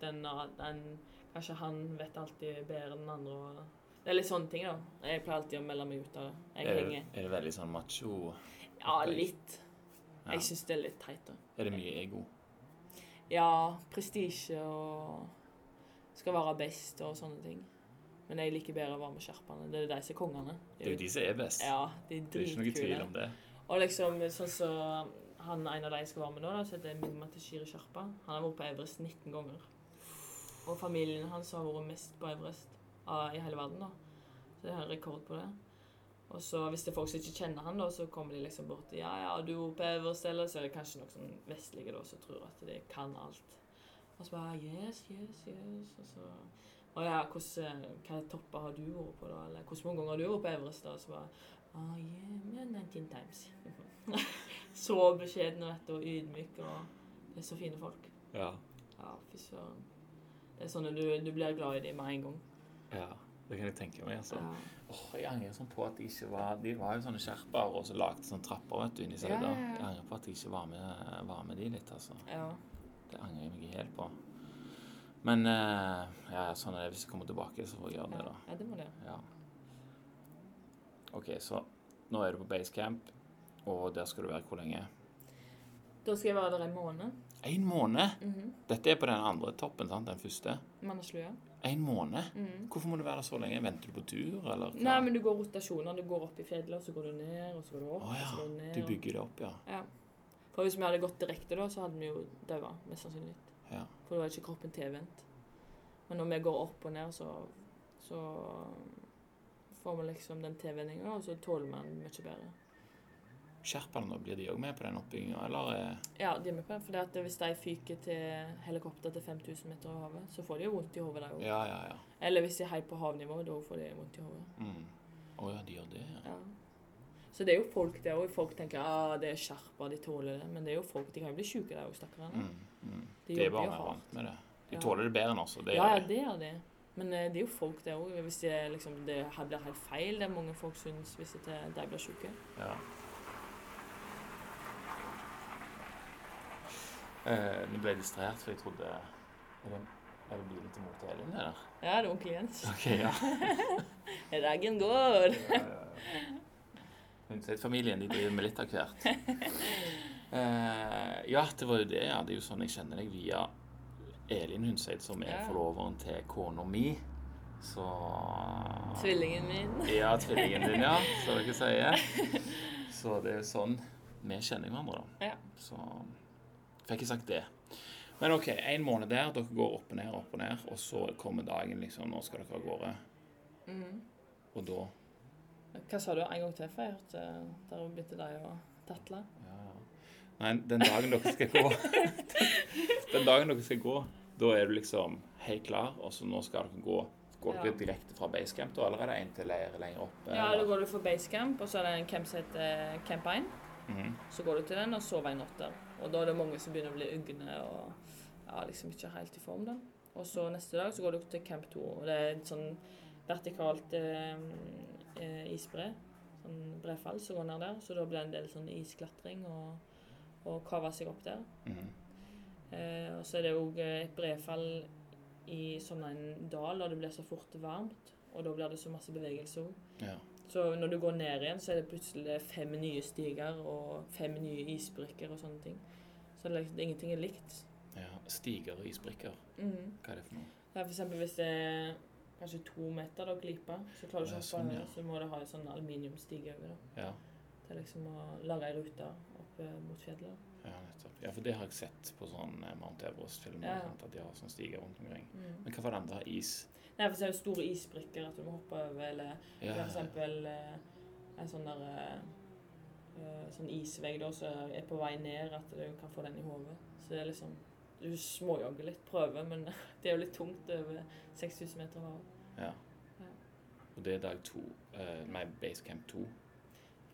[SPEAKER 2] den, den Kanskje han vet alltid bedre enn den andre og Det er litt sånne ting, da. Jeg pleier alltid å melde meg ut av det. Jeg
[SPEAKER 1] Er, det-
[SPEAKER 2] henger
[SPEAKER 1] er det veldig sånn macho?
[SPEAKER 2] Ja, litt.
[SPEAKER 1] Ja.
[SPEAKER 2] Jeg syns det er litt teit, da.
[SPEAKER 1] Er det mye ego?
[SPEAKER 2] Ja, prestisje og skal være best og sånne ting. Men jeg liker bedre å være med skjerpene. Det er de som er kongene.
[SPEAKER 1] Det er jo de som er best.
[SPEAKER 2] Ja, de er
[SPEAKER 1] det er ikke noe tvil
[SPEAKER 2] dritkule.
[SPEAKER 1] om det.
[SPEAKER 2] Og liksom sånn som han ene av de jeg skal være med nå, da, så heter Mimma Tashiri Sherpa. Han har vært på Everest 19 ganger. Og familien hans har vært mest på Everest av, i hele verden, da. Så det er rekord på det. Og så hvis det er folk som ikke kjenner han, da, så kommer de liksom bort til Ja, ja, du er på Everest, eller så er det kanskje noen sånn vestlige da, som tror at de kan alt. Og så bare ah, Yes, yes, yes. Og så Å ja, hvordan, eh, hva topper har du vært på, da? Eller hvor mange ganger har du vært på Everest, da? Og så bare Ah, yeah, 19 <laughs> times. så beskjeden og vet du, og ydmyk, og det er så fine folk.
[SPEAKER 1] Ja.
[SPEAKER 2] Ja, fy søren. Det er sånn at du, du blir glad i dem med en gang.
[SPEAKER 1] ja. Det kan jeg tenke meg, altså.
[SPEAKER 2] Ja.
[SPEAKER 1] Åh, jeg angrer sånn på at de ikke var De var jo sånne skjerper og så lagde sånne trapper vet du, inni seg.
[SPEAKER 2] Ja,
[SPEAKER 1] da.
[SPEAKER 2] ja, ja.
[SPEAKER 1] Jeg angrer på at jeg ikke var med, var med de litt, altså.
[SPEAKER 2] ja.
[SPEAKER 1] Det angrer jeg meg helt på. Men eh, ja, sånn er det. Hvis jeg kommer tilbake, så får jeg gjøre det, da.
[SPEAKER 2] ja det må det.
[SPEAKER 1] Ja. OK, så nå er du på basecamp, og der skal du være hvor lenge?
[SPEAKER 2] Da skal jeg være der en måned.
[SPEAKER 1] En måned!
[SPEAKER 2] Mm
[SPEAKER 1] Dette er på den andre toppen, sant? Den første.
[SPEAKER 2] Manneslua.
[SPEAKER 1] En måned?
[SPEAKER 2] Mhm.
[SPEAKER 1] Hvorfor må du være der så lenge? Venter du på tur, eller? hva?
[SPEAKER 2] Nei, men du går rotasjoner. Du går opp i fjellet, og så går du ned, og så går du
[SPEAKER 1] Å
[SPEAKER 2] opp, og så går du
[SPEAKER 1] ja.
[SPEAKER 2] ned.
[SPEAKER 1] Du
[SPEAKER 2] og-
[SPEAKER 1] bygger det opp, ja.
[SPEAKER 2] Ja. For hvis vi hadde gått direkte da, så hadde vi jo daua, mest sannsynlig.
[SPEAKER 1] Ja.
[SPEAKER 2] For da er ikke kroppen tilvendt. Men når vi går opp og ned, så, så får vi liksom den tilvenninga, og så tåler man mye bedre.
[SPEAKER 1] Sherpaene, da, blir de òg med på den oppbygginga, eller? eh,
[SPEAKER 2] Ja, de er med på den. For hvis de fyker til helikopter til 5000 meter over havet, så får de jo vondt i hodet, de òg.
[SPEAKER 1] Ja, ja, ja.
[SPEAKER 2] Eller hvis de heier på havnivå, da får de vondt i hodet.
[SPEAKER 1] Å mm. Å ja, de gjør det, ja.
[SPEAKER 2] Ja. Så det er jo folk der òg. Folk tenker ah, det er sherpa, de tåler det. Men det er jo folk, de kan jo bli syke der òg, stakkarene.
[SPEAKER 1] Mm. Mm. De
[SPEAKER 2] De
[SPEAKER 1] er
[SPEAKER 2] jobber
[SPEAKER 1] bare
[SPEAKER 2] jo
[SPEAKER 1] mer
[SPEAKER 2] hardt.
[SPEAKER 1] vant med det. De
[SPEAKER 2] Ja.
[SPEAKER 1] tåler det bedre enn oss. og Det
[SPEAKER 2] Ja, ja,
[SPEAKER 1] gjør de.
[SPEAKER 2] det gjør de. Men eh, det er jo folk der òg. Hvis det, er liksom, det her blir helt feil, det mange folk syns hvis det, de blir syke.
[SPEAKER 1] Ja. Eh, nå ble jeg distrahert, for jeg trodde Er det, er det bilen til mor til Elin, det der?
[SPEAKER 2] Ja, det er onkel Jens.
[SPEAKER 1] Ok, ja. <laughs>
[SPEAKER 2] Raggen går.
[SPEAKER 1] Hundsetfamilien, de driver med litt av hvert. Eh, ja, det var jo det, ja. Det er jo sånn jeg kjenner deg via Elin Hundseid, som er
[SPEAKER 2] Ja.
[SPEAKER 1] forloveren til kona mi. Så
[SPEAKER 2] Tvillingen min.
[SPEAKER 1] Ja, tvillingen din, ja. Som dere sier.
[SPEAKER 2] <laughs>
[SPEAKER 1] Så det er jo sånn vi kjenner hverandre, da.
[SPEAKER 2] Ja.
[SPEAKER 1] Så fikk jeg sagt det. Men OK, en måned der. Dere går opp og ned, opp og ned. Og så kommer dagen, liksom. Nå skal dere av gårde.
[SPEAKER 2] Mhm.
[SPEAKER 1] Og da
[SPEAKER 2] Hva sa du en gang til? For jeg hørte eh, der begynte de å tatle.
[SPEAKER 1] ja, ja. Nei, den dagen dere skal gå <laughs> Den dagen dere skal gå, da er du liksom helt klar, og så nå skal dere gå. Går dere
[SPEAKER 2] Ja.
[SPEAKER 1] direkte fra basecamp, da, eller er det en til leir lenger opp?
[SPEAKER 2] Ja, da
[SPEAKER 1] eller?
[SPEAKER 2] går du for basecamp, og så er det en camp som heter eh, Camp 1.
[SPEAKER 1] Mhm.
[SPEAKER 2] Så går du til den og sover en natt der. Og da er det mange som begynner å bli ugne og ja, liksom ikke helt i form. da. Og så neste dag så går du til Camp 2. Og det er et sånn vertikalt eh, eh, isbre. Sånn brefall som går ned der. Så da blir det en del sånn isklatring og, og kave seg opp der.
[SPEAKER 1] Mhm.
[SPEAKER 2] Eh, og så er det òg et brefall i sånn en dal, og det blir så fort varmt. Og da blir det så masse bevegelse òg.
[SPEAKER 1] Ja.
[SPEAKER 2] Så når du går ned igjen, så er det plutselig fem nye stiger og fem nye isbrikker og sånne ting. Så det er liksom, ingenting er likt.
[SPEAKER 1] ja. Stiger og isbrikker. Hva er det for noe?
[SPEAKER 2] Det er for eksempel hvis det er kanskje to meter da, glipe, så klarer du
[SPEAKER 1] Ja,
[SPEAKER 2] ikke å
[SPEAKER 1] sånn,
[SPEAKER 2] hoppe
[SPEAKER 1] ja.
[SPEAKER 2] over, så må du ha en sånn aluminiumstige over. Da.
[SPEAKER 1] Ja.
[SPEAKER 2] Det er liksom å lage ei rute opp eh, mot fjellet.
[SPEAKER 1] Ja, nettopp. Ja, for det har jeg sett på sånn eh, Mount Everest-filmer.
[SPEAKER 2] Ja.
[SPEAKER 1] sant, At de har sånn stiger rundt omkring.
[SPEAKER 2] Mm.
[SPEAKER 1] Men hva var det andre? Is?
[SPEAKER 2] Nei, for så er det store isbrikker at du må hoppe over, eller
[SPEAKER 1] Ja,
[SPEAKER 2] For eksempel eh, en sånn der eh, eh, sånn isvegg da, som er på vei ned, at du kan få den i hodet. Så det er liksom Du småjogger litt, prøver, men <laughs> det er jo litt tungt over 6000 meter over havet.
[SPEAKER 1] ja. Og det er dag to. eh, nei, base camp to.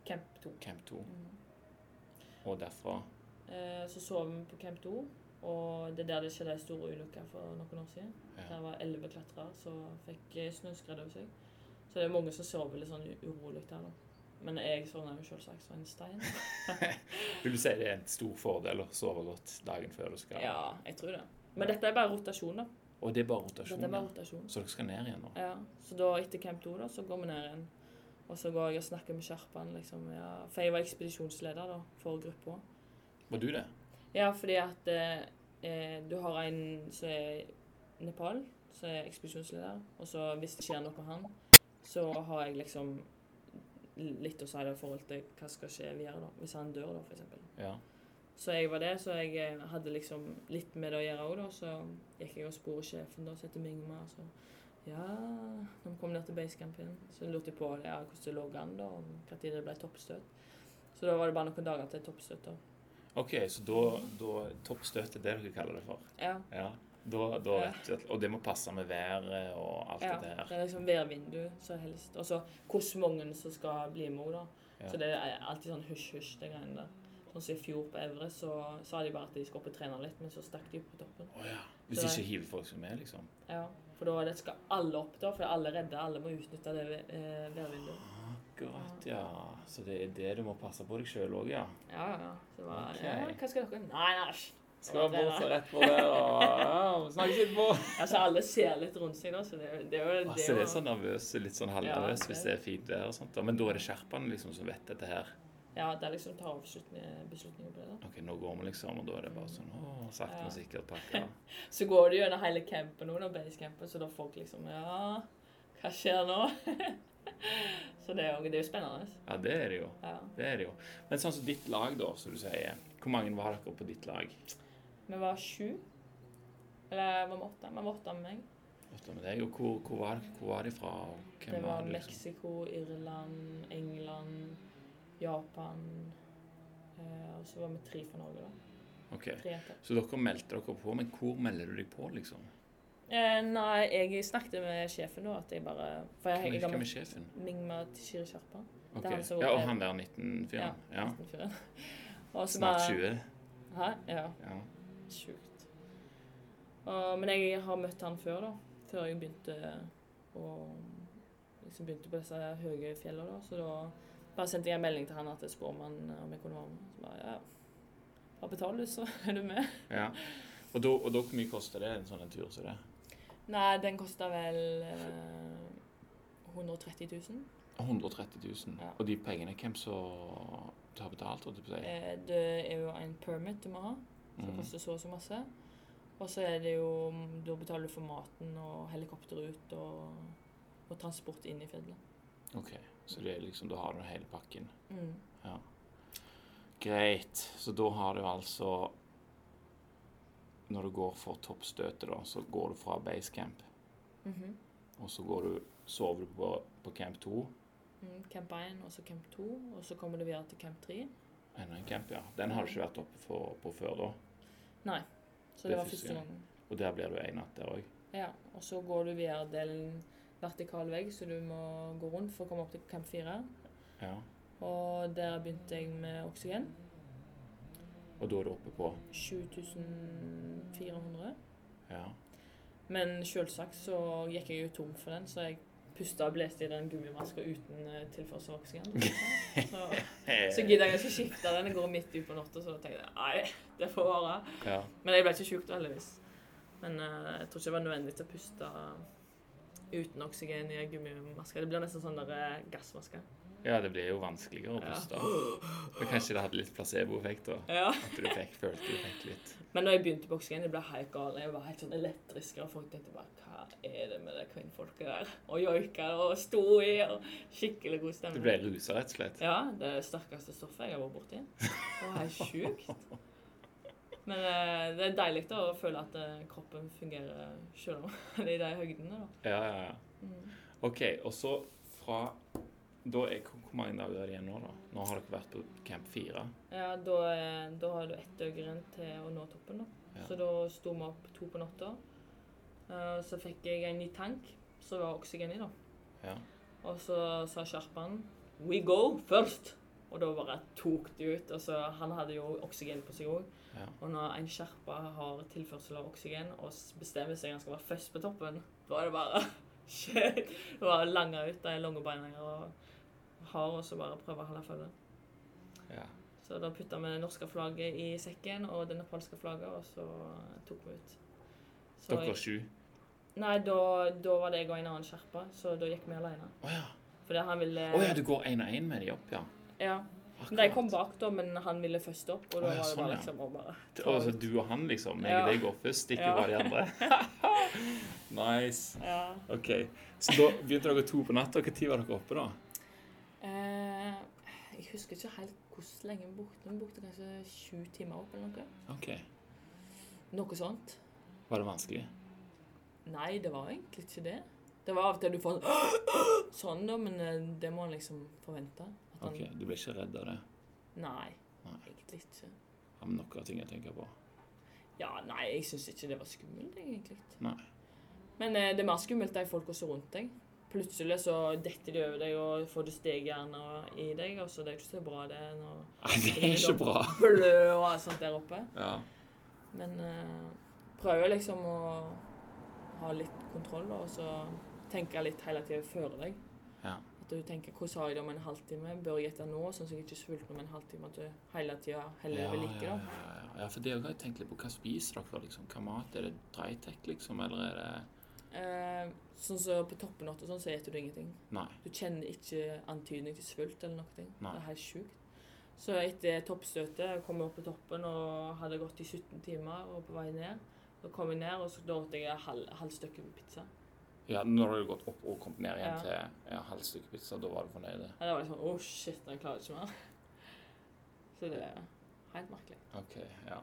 [SPEAKER 2] Camp 2.
[SPEAKER 1] Camp to.
[SPEAKER 2] Mm.
[SPEAKER 1] Og derfra
[SPEAKER 2] Eh, så sov vi på Camp 2, og det er der det skjedde ei stor ulykke for noen år siden.
[SPEAKER 1] ja.
[SPEAKER 2] Der var elleve klatrere som fikk eh, snøskred over seg. Så det er mange som sover litt sånn u- urolig der nå. Men jeg sovna jo selvsagt som en stein.
[SPEAKER 1] Vil du si det er en stor fordel å sove godt dagen før du skal
[SPEAKER 2] Ja, jeg tror det. Men dette er bare rotasjon, da.
[SPEAKER 1] Og det er bare
[SPEAKER 2] Dette
[SPEAKER 1] rotasjon?
[SPEAKER 2] er bare
[SPEAKER 1] ja.
[SPEAKER 2] rotasjon.
[SPEAKER 1] Så dere skal ned igjen nå?
[SPEAKER 2] Ja, så da etter Camp 2 da, så går vi ned igjen. Og så går jeg og snakker med Sherpaen, liksom. Ja. For jeg var ekspedisjonsleder da, for gruppa.
[SPEAKER 1] Var du det?
[SPEAKER 2] Ja, fordi at eh, eh, du har en som er Nepal, som er ekspedisjonsleder. Og så hvis det skjer noe med han, så har jeg liksom litt å si da i forhold til hva skal skje videre da. Hvis han dør da, for eksempel.
[SPEAKER 1] Ja.
[SPEAKER 2] Så jeg var det, så jeg eh, hadde liksom litt med det å gjøre òg, da. Så gikk jeg og spurte sjefen, da, som heter Mingmar, så Ja, når vi kom ned til basecamp igjen, så lurte jeg på ja, hvordan det lå an, da, og når det ble toppstøt. Så da var det bare noen dager til toppstøt, da.
[SPEAKER 1] OK, så da, da Toppstøt er det dere kaller det for?
[SPEAKER 2] Ja.
[SPEAKER 1] Ja. Da, da
[SPEAKER 2] Ja.
[SPEAKER 1] vet du at Og det må passe med været og alt
[SPEAKER 2] ja.
[SPEAKER 1] det
[SPEAKER 2] Det
[SPEAKER 1] der.
[SPEAKER 2] er liksom værvindu, så helst. Og så hvordan mange som skal bli med òg, da.
[SPEAKER 1] Ja.
[SPEAKER 2] Så det er alltid sånn hysj-hysj, det greiene der. Sånn som i fjor på Everest, så sa de bare at de skulle opp og trene litt, men så stakk de opp på toppen.
[SPEAKER 1] Å ja. Hvis
[SPEAKER 2] Så-
[SPEAKER 1] ikke hiver folk seg med, liksom.
[SPEAKER 2] Ja, for da er det skal alle opp, da, for alle er redde. Alle må utnytte det eh, værvinduet.
[SPEAKER 1] Akkurat, ja. Så det er det du må passe på deg sjøl òg, ja.
[SPEAKER 2] Ja, ja, ja. Så det var,
[SPEAKER 1] Ok.
[SPEAKER 2] ja, hva skal dere Nei, nei. æsj.
[SPEAKER 1] Skal bort og rett på det, og ja, vi snakkes etterpå.
[SPEAKER 2] Altså, alle ser litt rundt seg, da, så det, er jo- <laughs> det er jo
[SPEAKER 1] Altså, det
[SPEAKER 2] jo-
[SPEAKER 1] er så nervøs, litt sånn halvnervøs
[SPEAKER 2] Ja,
[SPEAKER 1] hvis
[SPEAKER 2] det-
[SPEAKER 1] det er fint vær og sånt. da. Men da er det sherpaene liksom som vet dette her.
[SPEAKER 2] Ja, det er liksom ta avslutning- beslutninger på det, da.
[SPEAKER 1] OK, nå går vi, liksom. Og da er det bare sånn åh, sakte,
[SPEAKER 2] Ja.
[SPEAKER 1] men sikkert pakka.
[SPEAKER 2] Så går det gjennom hele campen nå, da, basecampen, så da folk liksom Ja, hva skjer nå? <laughs> så det er jo, det er jo spennende. altså.
[SPEAKER 1] Ja, det er det jo.
[SPEAKER 2] Ja.
[SPEAKER 1] Det er det jo. Men sånn som ditt lag, da, som du sier. Hvor mange var dere på ditt lag?
[SPEAKER 2] Vi var sju. Eller var vi åtte? Vi var åtte med meg.
[SPEAKER 1] Åtte med deg. Og hvor, hvor, var, hvor var de fra? og Hvem
[SPEAKER 2] Det var
[SPEAKER 1] det, liksom?
[SPEAKER 2] Mexico, Irland, England, Japan Eh, og så var vi tre fra Norge, da.
[SPEAKER 1] liksom? Ok,
[SPEAKER 2] Tre jenter.
[SPEAKER 1] Så dere meldte dere på, men hvor melder du deg på, liksom?
[SPEAKER 2] Eh, nei, jeg snakket med sjefen da, at jeg bare For
[SPEAKER 1] Hvem
[SPEAKER 2] jeg, jeg
[SPEAKER 1] er,
[SPEAKER 2] ga
[SPEAKER 1] hvem
[SPEAKER 2] meg
[SPEAKER 1] er sjefen?
[SPEAKER 2] Mingma Tishiri Sharpa.
[SPEAKER 1] Ok,
[SPEAKER 2] han som
[SPEAKER 1] Ja, og
[SPEAKER 2] er- altså
[SPEAKER 1] han der 19-fyren? Ja.
[SPEAKER 2] <laughs> Og så
[SPEAKER 1] Snart
[SPEAKER 2] bare
[SPEAKER 1] 20.
[SPEAKER 2] Hæ? Ja.
[SPEAKER 1] Ja.
[SPEAKER 2] Sjukt. Og, men jeg har møtt han før, da. Før jeg begynte å liksom begynte på disse høye fjellene, da. Så da bare sendte jeg en melding til han at jeg spør om han om jeg kunne være med. Så bare, ja. Bare betal, du, så <laughs> er du med.
[SPEAKER 1] ja. Og da, og da hvor mye koster det en sånn en tur som det?
[SPEAKER 2] Nei, den kosta vel eh, 130 000.
[SPEAKER 1] 130 000.
[SPEAKER 2] Ja.
[SPEAKER 1] Og de pengene, hvem som har betalt? holdt jeg på å si?
[SPEAKER 2] Eh, det er jo en permit du må ha, som
[SPEAKER 1] Mm.
[SPEAKER 2] koster så og så masse. Og så er det jo Da betaler du for maten og helikopterrut og, og transport inn i fjellet.
[SPEAKER 1] Ok, så det er liksom, da har du hele pakken.
[SPEAKER 2] Mm.
[SPEAKER 1] Greit. Så da har du altså Når du går for toppstøtet, da, så går du fra basecamp,
[SPEAKER 2] Mhm.
[SPEAKER 1] og så går du, sover du på, på camp 2.
[SPEAKER 2] Mm, camp 1 og så camp 2, og så kommer du videre til camp 3.
[SPEAKER 1] Enda en camp, ja. Den har du ikke vært oppe for, på før, da.
[SPEAKER 2] Så
[SPEAKER 1] Det
[SPEAKER 2] det,
[SPEAKER 1] er
[SPEAKER 2] var
[SPEAKER 1] første
[SPEAKER 2] første gangen.
[SPEAKER 1] Og der blir du en natt der òg.
[SPEAKER 2] Ja, og så går du videre til en vertikal vegg, så du må gå rundt for å komme opp til camp 4.
[SPEAKER 1] Ja.
[SPEAKER 2] Og der begynte jeg med oksygen.
[SPEAKER 1] Og da er du oppe på
[SPEAKER 2] 7400.
[SPEAKER 1] Ja.
[SPEAKER 2] Men selvsagt så gikk jeg jo tom for den, så jeg pusta og blåste i den gummimaska uten eh, tilførsel av oksygen. <laughs> Så, så gidder jeg ikke skifte den. Jeg går midt ut på natta, så da tenkte jeg nei, det får være.
[SPEAKER 1] Ja.
[SPEAKER 2] Men jeg ble ikke sjuk, da, heldigvis. Men eh, jeg tror ikke det var nødvendig å puste uten oksygen i en gummimaske. Det blir nesten sånn der eh, gassmaske.
[SPEAKER 1] ja, det blir jo vanskeligere å
[SPEAKER 2] Ja.
[SPEAKER 1] puste. Men kanskje det hadde litt placeboeffekt, da.
[SPEAKER 2] Ja.
[SPEAKER 1] At du fikk, følte du fikk litt
[SPEAKER 2] Men da jeg begynte på oksygen, jeg ble helt gal. Jeg var helt sånn elektrisk. Og folk tenkte bare Hva er det med det kvinnfolket der? Og joika og sto i. og Skikkelig god
[SPEAKER 1] Du
[SPEAKER 2] stemning.
[SPEAKER 1] ble rusa, rett og slett.
[SPEAKER 2] Ja, det er det sterkeste stoffet jeg har vært borti. Det var helt sjukt. Men eh, det er deilig da, å føle at eh, kroppen fungerer selv om <laughs> det er i de høydene. da.
[SPEAKER 1] Ja, ja, ja.
[SPEAKER 2] Mm.
[SPEAKER 1] OK, og så fra da er, Hvor hvor mange dager er det igjen nå, da? Nå har dere vært på camp 4.
[SPEAKER 2] Ja, da, eh, da har du ett døgn igjen til å nå toppen. da.
[SPEAKER 1] Ja.
[SPEAKER 2] Så da sto vi opp to på natta. Eh, Så fikk jeg en ny tank som var oksygen i. da.
[SPEAKER 1] Ja.
[SPEAKER 2] Og så sa sherpaen 'We go først'. Og da bare tok de ut. og så Han hadde jo oksygen på seg òg.
[SPEAKER 1] Ja.
[SPEAKER 2] Og når en sherpa har tilførsel av oksygen og s- bestemmer seg han skal være først på toppen, da er det bare <laughs> shit. Det var lange ut de lange beina jeg har- har, og så bare prøve å holde følge.
[SPEAKER 1] ja.
[SPEAKER 2] Så da putta vi det norske flagget i sekken og det nepalske flagget, og så tok vi ut. Så
[SPEAKER 1] Dere sju.
[SPEAKER 2] Nei, da, da var det jeg og en annen sherpa, så da gikk vi alene.
[SPEAKER 1] Å ja.
[SPEAKER 2] Fordi han ville
[SPEAKER 1] Å ja, du går én og én med de opp, ja.
[SPEAKER 2] ja. De kom bak, da, men han ville først opp, og da
[SPEAKER 1] Å, ja,
[SPEAKER 2] var det
[SPEAKER 1] sånn,
[SPEAKER 2] bare
[SPEAKER 1] ja.
[SPEAKER 2] liksom å bare
[SPEAKER 1] Og så du og han, liksom. Jeg
[SPEAKER 2] Ja.
[SPEAKER 1] og deg går først, ikke
[SPEAKER 2] Ja.
[SPEAKER 1] bare de andre.
[SPEAKER 2] <laughs>
[SPEAKER 1] nice.
[SPEAKER 2] Ja.
[SPEAKER 1] OK. Så da begynte dere to på natta. Hva tid var dere oppe, da?
[SPEAKER 2] Eh, jeg husker ikke helt hvor lenge vi brukte. Vi brukte kanskje sju timer opp eller noe.
[SPEAKER 1] OK.
[SPEAKER 2] Noe sånt.
[SPEAKER 1] Var det vanskelig?
[SPEAKER 2] Nei, det var egentlig ikke det. Det var av og til du får sånn, sånn <gasps> da, men eh, det må han liksom forvente. At han
[SPEAKER 1] OK, du ble ikke redd av det?
[SPEAKER 2] Nei,
[SPEAKER 1] Nei.
[SPEAKER 2] egentlig ikke.
[SPEAKER 1] Har vi noen ting jeg
[SPEAKER 2] <laughs>
[SPEAKER 1] tenker på?
[SPEAKER 2] Ja, nei, jeg syns ikke det var skummelt, egentlig.
[SPEAKER 1] Nei.
[SPEAKER 2] Men eh, det er mer skummelt de folka som er rundt deg. Plutselig så detter de over deg, og får du stegjern og- i deg, og så det er ikke så bra, det. Når
[SPEAKER 1] Nei, <laughs> det er ikke bra.
[SPEAKER 2] blø og alt sånt der oppe.
[SPEAKER 1] Ja.
[SPEAKER 2] Men eh, prøver liksom å ha litt kontroll, da, og så tenke litt hele tida før deg.
[SPEAKER 1] Ja.
[SPEAKER 2] At du tenker 'Hvordan har jeg det om en halvtime? Bør jeg gjette nå?' Sånn at jeg ikke er sulten om en halvtime. At du hele tida heller
[SPEAKER 1] ja,
[SPEAKER 2] vil like,
[SPEAKER 1] ja,
[SPEAKER 2] da.
[SPEAKER 1] ja, ja. ja, for det har jeg tenkt litt på. Hva spiser dere, liksom? Hva mat? Er det Drytec, liksom, eller er det
[SPEAKER 2] Eh, sånn som på toppen åtte, sånn, så spiser du ingenting.
[SPEAKER 1] Nei.
[SPEAKER 2] Du kjenner ikke antydning til svult eller noe.
[SPEAKER 1] Nei.
[SPEAKER 2] Det er helt sjukt. Så etter toppstøtet kom jeg opp på toppen og hadde gått i 17 timer og på vei ned. Da kom jeg ned, og så da åt jeg et halv, halvt stykke med pizza.
[SPEAKER 1] Ja, når du har gått opp og kommet ned igjen
[SPEAKER 2] Ja.
[SPEAKER 1] til ja, halvt stykke pizza, da var du fornøyd?
[SPEAKER 2] Ja, det var liksom Å, shit, jeg klarer ikke mer. <laughs> Så det er helt merkelig.
[SPEAKER 1] OK, ja.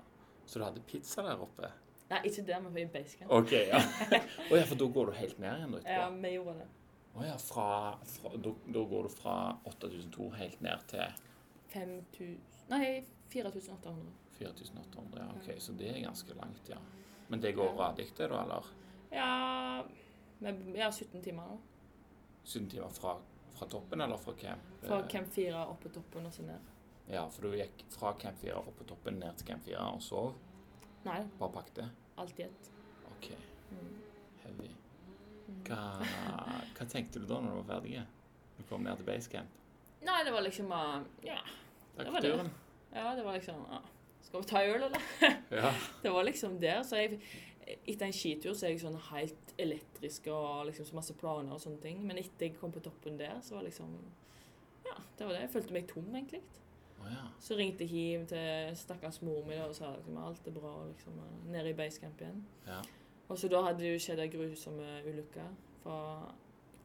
[SPEAKER 1] Så du hadde pizza der oppe?
[SPEAKER 2] Nei, ikke der, men i basecamp.
[SPEAKER 1] OK,
[SPEAKER 2] <laughs>
[SPEAKER 1] ja. Å ja, for da går du helt ned igjen da
[SPEAKER 2] Ja,
[SPEAKER 1] etterpå?
[SPEAKER 2] vi gjorde det.
[SPEAKER 1] Å ja, fra, fra da, da går du fra 8200 helt ned til
[SPEAKER 2] 5000 Nei, 4800.
[SPEAKER 1] 4800, ja,
[SPEAKER 2] Mm.
[SPEAKER 1] ok, så det er ganske langt, ja. Men det går radig, det da, eller?
[SPEAKER 2] Ja men Jeg har 17 timer nå.
[SPEAKER 1] 17 timer fra, fra toppen, eller fra camp?
[SPEAKER 2] Fra
[SPEAKER 1] Eh,
[SPEAKER 2] camp 4 opp på toppen og så ned.
[SPEAKER 1] Ja, for du gikk fra camp 4 opp på toppen, ned til camp 4 og sov,
[SPEAKER 2] Nei,
[SPEAKER 1] bare pakte?
[SPEAKER 2] alt i ett.
[SPEAKER 1] Ok,
[SPEAKER 2] Mm.
[SPEAKER 1] heavy. Hva, hva tenkte du da når du var ferdig? Du kom ned til basecamp?
[SPEAKER 2] Nei, det var liksom bare Ja,
[SPEAKER 1] Takk
[SPEAKER 2] Det
[SPEAKER 1] for
[SPEAKER 2] var det. <laughs>
[SPEAKER 1] turen.
[SPEAKER 2] ja det var liksom ja. Skal vi ta øl, eller?
[SPEAKER 1] Ja.
[SPEAKER 2] Det var liksom der. Så jeg, etter en skitur så er jeg sånn helt elektrisk og liksom så masse planer og sånne ting. Men etter jeg kom på toppen der, så var liksom Ja, det var det. Jeg følte meg tom, egentlig.
[SPEAKER 1] Å ja.
[SPEAKER 2] Så ringte jeg hjem til stakkars mor mi da, og sa liksom alt er bra, liksom. Nede i basecamp igjen.
[SPEAKER 1] Ja.
[SPEAKER 2] Og så da hadde det jo skjedd ei grusom eh, ulykke fra